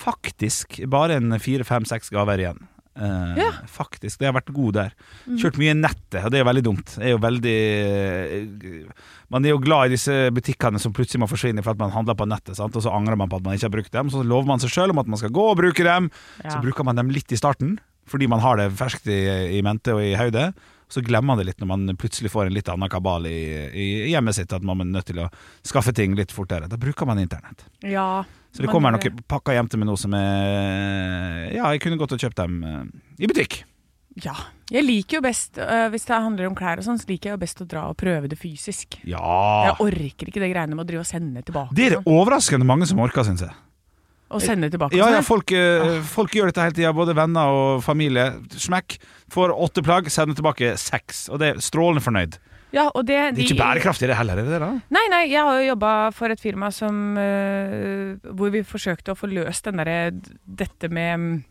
Speaker 5: faktisk bare en fire-fem-seks gaver igjen. Eh,
Speaker 6: Ja. Mm.
Speaker 5: Faktisk. Det har vært god der. Kjørt mye i nettet, og det er jo veldig dumt. Jeg er jo veldig eh, Man er jo glad i disse butikkene som plutselig må forsvinne for at man handler på nettet, sant? og så angrer man på at man ikke har brukt dem. Så lover man seg sjøl om at man skal gå og bruke dem.
Speaker 6: Ja.
Speaker 5: Så bruker man dem litt i starten, fordi man har det ferskt i, i mente og i hodet. så glemmer man det litt når man plutselig får en litt annen kabal i, i hjemmet sitt, at man er nødt til å skaffe ting litt fortere. Da bruker man internett.
Speaker 6: Ja,
Speaker 5: Så det
Speaker 6: man
Speaker 5: kommer
Speaker 6: gjør
Speaker 5: noen pakker hjem til meg nå som er Ja, jeg kunne gått og kjøpt dem eh, i butikk.
Speaker 6: Ja. Jeg liker jo best, øh, hvis det handler om klær og sånn, så liker jeg jo best å dra og prøve det fysisk.
Speaker 5: Ja!
Speaker 6: Jeg orker ikke det greiene med å drive og sende tilbake.
Speaker 5: Det er det overraskende mange som orker, syns jeg.
Speaker 6: Og sende tilbake.
Speaker 5: Ja,
Speaker 6: og
Speaker 5: ja,
Speaker 6: sånn.
Speaker 5: folk, eh, folk gjør dette hele tida, både venner og familie. Smekk. Får åtte plagg, sender tilbake seks. Og det er strålende fornøyd.
Speaker 6: ja, og det,
Speaker 5: Det er ikke bærekraftig det heller, er det det? da?
Speaker 6: Nei, nei, jeg har jo jobba for et firma som øh, Hvor vi forsøkte å få løst den derre Dette med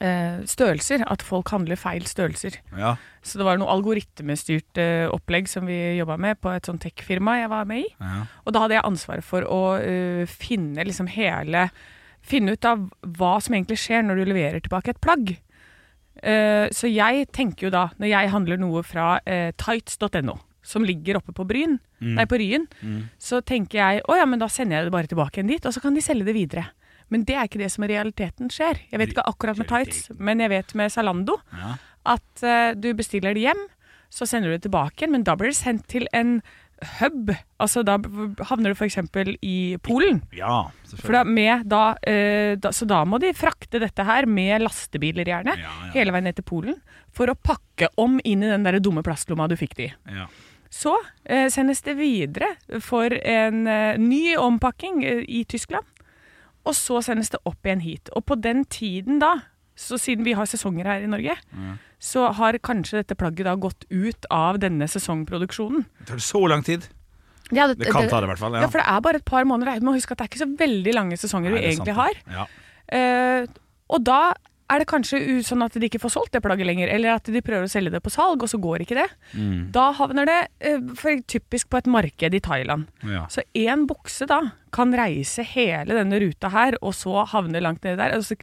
Speaker 6: øh, størrelser. At folk handler feil størrelser.
Speaker 5: Ja.
Speaker 6: Så det var noe algoritmestyrt øh, opplegg som vi jobba med på et sånn tech-firma jeg var med i.
Speaker 5: Ja.
Speaker 6: Og da hadde jeg ansvaret for å øh, finne liksom hele Finne ut av hva som egentlig skjer når du leverer tilbake et plagg. Eh, så jeg tenker jo da, når jeg handler noe fra eh, tights.no, som ligger oppe på Bryn,
Speaker 12: Mm.
Speaker 6: nei, på Ryen, så tenker jeg å ja, men da sender jeg det bare tilbake igjen dit, og så kan de selge det videre. Men det er ikke det som i realiteten skjer. Jeg vet ikke akkurat med tights, men jeg vet med Zalando
Speaker 5: Ja.
Speaker 6: at eh, du bestiller det hjem, så sender du det tilbake igjen, men da blir det sendt til en hub. Altså da b- havner det f.eks. i Polen.
Speaker 5: ja
Speaker 6: For da, med, da, eh, da, så da må de frakte dette her med lastebiler gjerne, hele veien ned til Polen, for å pakke om inn i den der dumme plastlomma du fikk det i.
Speaker 5: Ja.
Speaker 6: Så eh, sendes det videre for en eh, ny ompakking eh, i Tyskland. Og så sendes det opp igjen hit. Og på den tiden da, så siden vi har sesonger her i Norge, så har kanskje dette plagget da gått ut av denne sesongproduksjonen.
Speaker 5: Det tar så lang tid.
Speaker 6: Ja,
Speaker 5: Det kan ta det i hvert fall, ja.
Speaker 6: Ja. for det er bare et par måneder. Du må huske at det er ikke så veldig lange sesonger
Speaker 5: Nei,
Speaker 6: vi
Speaker 5: det er sant,
Speaker 6: egentlig
Speaker 5: det.
Speaker 6: har.
Speaker 5: Ja.
Speaker 6: Eh, og da er det kanskje u- sånn at de ikke får solgt det plagget lenger, eller at de prøver å selge det på salg, og så går ikke det.
Speaker 5: Mm.
Speaker 6: Da havner det eh, for typisk på et marked i Thailand.
Speaker 5: Ja.
Speaker 6: Så én bukse da kan reise hele denne ruta her, og så havne langt nedi der. Altså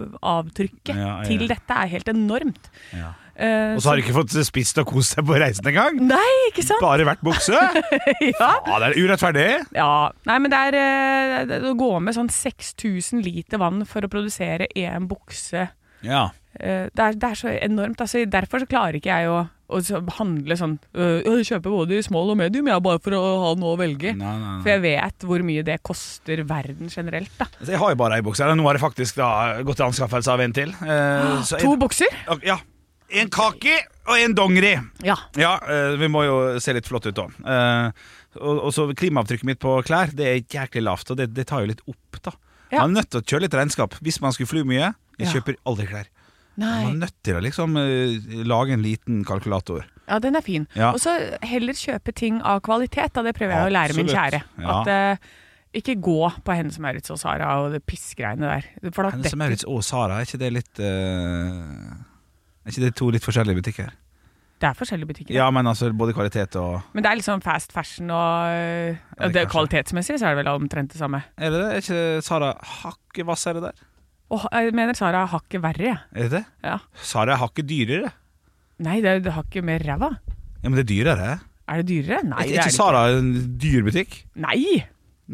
Speaker 6: klimaavtrykket
Speaker 5: Ja, ja, ja.
Speaker 6: til dette er helt enormt.
Speaker 5: Ja.
Speaker 6: Eh,
Speaker 5: Og så har de ikke fått spist og kost seg på reisen engang!
Speaker 6: Nei, ikke sant?
Speaker 5: Bare vært bukse!
Speaker 6: ja.
Speaker 5: Ja, det er urettferdig!
Speaker 6: Ja, nei, men det er eh, det- det- å gå med sånn 6000 liter vann for å produsere én bukse
Speaker 5: Ja.
Speaker 6: eh, det, er, det er så enormt. Altså, derfor så klarer ikke jeg å, å så handle sånn øh, «Å, Kjøpe både i small og medium, ja, bare for å ha noe å velge.
Speaker 5: nei, nei.
Speaker 6: For jeg vet hvor mye det koster verden generelt. Da.
Speaker 5: Altså, jeg har jo bare ei bukse. Nå har jeg faktisk da gått til anskaffelse av en til. Eh, så
Speaker 6: Ah, To
Speaker 5: en,
Speaker 6: bukser?
Speaker 5: ja. En kaki og en dongeri.
Speaker 6: Ja.
Speaker 5: Ja, eh, vi må jo se litt flott ut da. Eh, og, og så klimaavtrykket mitt på klær, det er jæklig lavt, og det, det tar jo litt opp da.
Speaker 6: Ja.
Speaker 5: Man er nødt til å kjøre litt regnskap. Hvis man skulle fly mye, jeg
Speaker 6: Ja.
Speaker 5: kjøper aldri klær. Man er
Speaker 6: Nei.
Speaker 5: nødt til å liksom eh, lage en liten kalkulator.
Speaker 6: Ja, den er fin.
Speaker 5: Ja.
Speaker 6: Og så heller kjøpe ting av kvalitet, da. Det prøver jeg å lære min
Speaker 5: Absolutt.
Speaker 6: kjære.
Speaker 5: Ja.
Speaker 6: At eh, ikke gå på Hennes som Maurits og Sara og det pissgreiene der. For da
Speaker 5: Hennes
Speaker 6: detter-
Speaker 5: og Maurits og Sara, er ikke det litt... eh, er ikke det to litt forskjellige butikker?
Speaker 6: Det er forskjellige butikker.
Speaker 5: Ja, men altså både kvalitet og...
Speaker 6: Men det er liksom fast fashion og øh,
Speaker 5: det
Speaker 6: det,
Speaker 5: kanskje.
Speaker 6: Kvalitetsmessig så er det vel omtrent det samme.
Speaker 5: Er det det? Er ikke Sara Hakkevass er det der?
Speaker 6: Og ha- jeg mener Sara har hakket verre, jeg.
Speaker 5: Er det det?
Speaker 6: Ja.
Speaker 5: Sara er hakket dyrere.
Speaker 6: Nei, det, er- det har ikke mer ræva.
Speaker 5: Ja, men det er dyrere.
Speaker 6: Er det dyrere? Nei,
Speaker 5: Er
Speaker 6: det er
Speaker 5: ikke Sara en dyr butikk?
Speaker 6: ikke. Nei!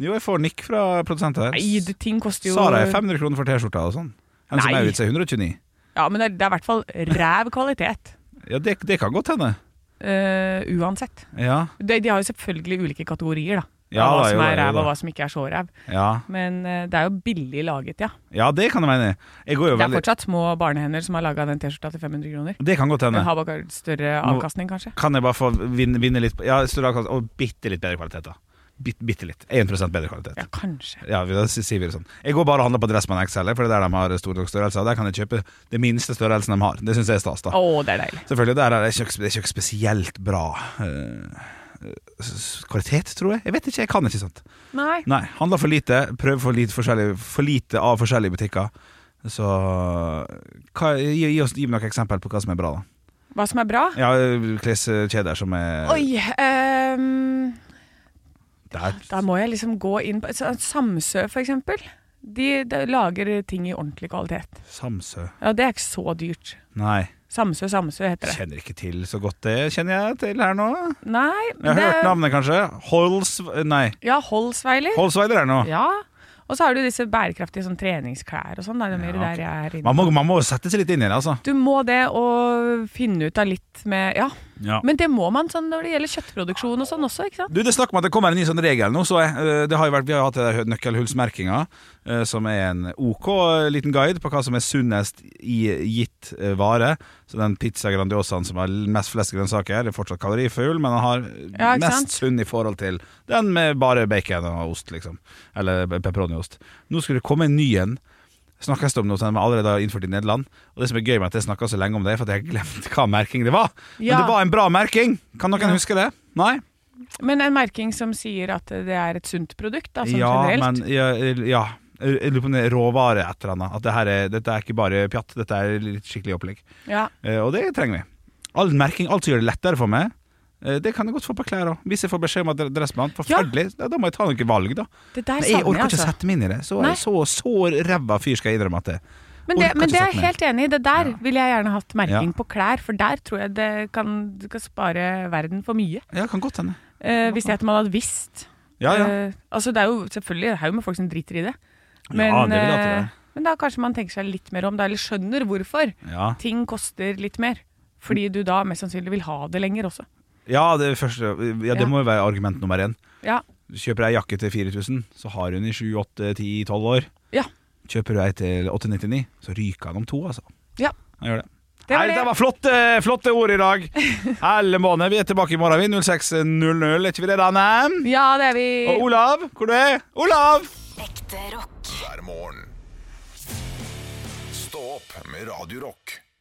Speaker 5: Jo, jeg får nikk fra produsenten her.
Speaker 6: Nei, det, ting koster jo
Speaker 5: Sara er 500 kroner for T-skjorta og sånn. Hennes
Speaker 6: Nei.
Speaker 5: Maurits er 129.
Speaker 6: Ja, men det, er- det er i hvert fall ræv kvalitet.
Speaker 5: Ja, det, det kan godt hende.
Speaker 6: øh, uansett.
Speaker 5: Ja.
Speaker 6: De, de har jo selvfølgelig ulike kategorier, da.
Speaker 5: Ja,
Speaker 6: Av hva
Speaker 5: da, jo
Speaker 6: som
Speaker 5: da,
Speaker 6: er
Speaker 5: jo
Speaker 6: ræv,
Speaker 5: da.
Speaker 6: og hva som ikke er så ræv.
Speaker 5: Ja.
Speaker 6: Men øh, det er jo billig laget, ja.
Speaker 5: ja, det kan jeg mene. Jeg går jo
Speaker 6: Det er
Speaker 5: veldig
Speaker 6: fortsatt små barnehender som har laga den T-skjorta til 500 kroner.
Speaker 5: Det kan godt hende.
Speaker 6: Den har bare større
Speaker 5: Nå-
Speaker 6: avkastning, kanskje.
Speaker 5: Kan jeg bare få vinne, vinne litt Ja, større avkast og bitte litt bedre kvalitet, da. Bitt, bitte litt. 1 bedre kvalitet. Ja,
Speaker 6: kanskje.
Speaker 5: Ja, vi- da sier vi det sånn. Jeg går bare og handler på Dressmann XL, for det er der de har stor nok størrelse. Og der kan jeg kjøpe det minste størrelsen de har. Det syns jeg er stas, da.
Speaker 6: Å, det er deilig.
Speaker 5: Selvfølgelig, der er det ikke, det er ikke spesielt bra eh, s- kvalitet, tror jeg. Jeg vet ikke, jeg kan ikke sånt.
Speaker 6: Nei.
Speaker 5: Nei, handler for lite, prøver for lite, forskjellig- for lite av forskjellige butikker. Så hva, gi, gi, oss, gi meg noen eksempel på hva som er bra, da.
Speaker 6: Hva som er bra?
Speaker 5: Ja, eh, Kleskjeder som er
Speaker 6: Oi ehm,
Speaker 5: der.
Speaker 6: Da må jeg liksom gå inn på så- Samsø, for eksempel. De, de lager ting i ordentlig kvalitet.
Speaker 5: Samsø.
Speaker 6: Ja, Det er ikke så dyrt.
Speaker 5: Nei,
Speaker 6: Samsø, Samsø heter det.
Speaker 5: kjenner ikke til så godt det, kjenner jeg til her nå.
Speaker 6: Nei,
Speaker 5: Jeg har
Speaker 6: det-
Speaker 5: hørt navnet, kanskje. Holsv... Nei.
Speaker 6: Ja, Holsweiler.
Speaker 5: Holsweiler er det nå.
Speaker 6: Ja. Og så har du disse bærekraftige sånn, treningsklær og sånn. da, Det er jo mer
Speaker 5: Ja, ok.
Speaker 6: der jeg er inne.
Speaker 5: Man må, man må sette seg litt inn i det, altså.
Speaker 6: Du må det, og finne ut av litt med Ja.
Speaker 5: Ja.
Speaker 6: Men det må man sånn når det gjelder kjøttproduksjon og sånn også, ikke sant?
Speaker 5: Du, Det er snakk om at det kommer en ny sånn regel nå. Så jeg, eh, det har jo vært, vi har hatt det der nøkkelhullsmerkinga, eh, som er en OK eh, liten guide på hva som er sunnest i gitt eh, vare. Så den pizza grandiosaen som har mest flest grønnsaker, er fortsatt kalorifull, men den har
Speaker 6: Ja, ikke sant?
Speaker 5: mest sunn i forhold til den med bare bacon og ost, liksom. Eller pepperoniost. Nå skal det komme en ny en. Snakkes det om noe som de allerede har innført i Nederland. Og det som er gøy med at jeg snakka så lenge om det, er for at jeg har glemt hva merking det var.
Speaker 6: Ja.
Speaker 5: Men det var en bra merking! Kan noen huske det? Nei?
Speaker 6: Men en merking som sier at det er et sunt produkt, da, sånn
Speaker 5: ja,
Speaker 6: generelt.
Speaker 5: men ja, ja. Jeg lurer på om det er råvare et eller annet. At det her er, dette er ikke bare pjatt, dette er litt skikkelig opplegg.
Speaker 6: Ja.
Speaker 5: Eh, og det trenger vi. All merking, alt som gjør det lettere for meg, eh, det kan jeg godt få på klær òg. Hvis jeg får beskjed om at dressmann Forferdelig. Da, da må jeg ta noen valg, da.
Speaker 6: Det der
Speaker 5: Men
Speaker 6: savner
Speaker 5: jeg orker
Speaker 6: jeg,
Speaker 5: ikke
Speaker 6: altså.
Speaker 5: sette meg inn i det. Så,
Speaker 6: Nei.
Speaker 5: så, så ræva fyr skal jeg innrømme at det
Speaker 6: Men det,
Speaker 5: Orker
Speaker 6: men
Speaker 5: ikke
Speaker 6: det er
Speaker 5: sette
Speaker 6: jeg
Speaker 5: meg
Speaker 6: helt enig i. Det der ville jeg gjerne hatt merking
Speaker 5: Ja.
Speaker 6: på klær, for der tror jeg det kan, du kan spare verden for mye.
Speaker 5: Ja, kan godt hende.
Speaker 6: Eh, hvis det at man hadde visst.
Speaker 5: Ja, ja.
Speaker 6: Eh, altså det er jo selvfølgelig en haug med folk som driter i det. Men,
Speaker 5: Ja, det vil jeg at det er.
Speaker 6: eh, men da kanskje man tenker seg litt mer om det, eller skjønner hvorfor
Speaker 5: Ja.
Speaker 6: ting koster litt mer. Fordi du da mest sannsynlig vil ha det lenger også.
Speaker 5: Ja, det, første, ja, det
Speaker 6: Ja.
Speaker 5: må jo være argument nummer én.
Speaker 6: Ja.
Speaker 5: Kjøper jeg jakke til 4000, så har hun i 7, 8, 10, 12 år.
Speaker 6: Ja.
Speaker 5: Kjøper du ei til 899, så ryker han om to, altså.
Speaker 6: ja.
Speaker 5: Han gjør det.
Speaker 6: Det var
Speaker 5: Nei,
Speaker 6: det.
Speaker 5: det var flotte, flotte ord i dag. Alle måned. Vi er tilbake i morgen, vi. 06.00. Er ikke vi det, Danne?
Speaker 6: Ja, det er vi.
Speaker 5: Og Olav, hvor du er? Olav!
Speaker 8: Ekte rock.
Speaker 4: hver morgen. Stå opp med Radio Rock.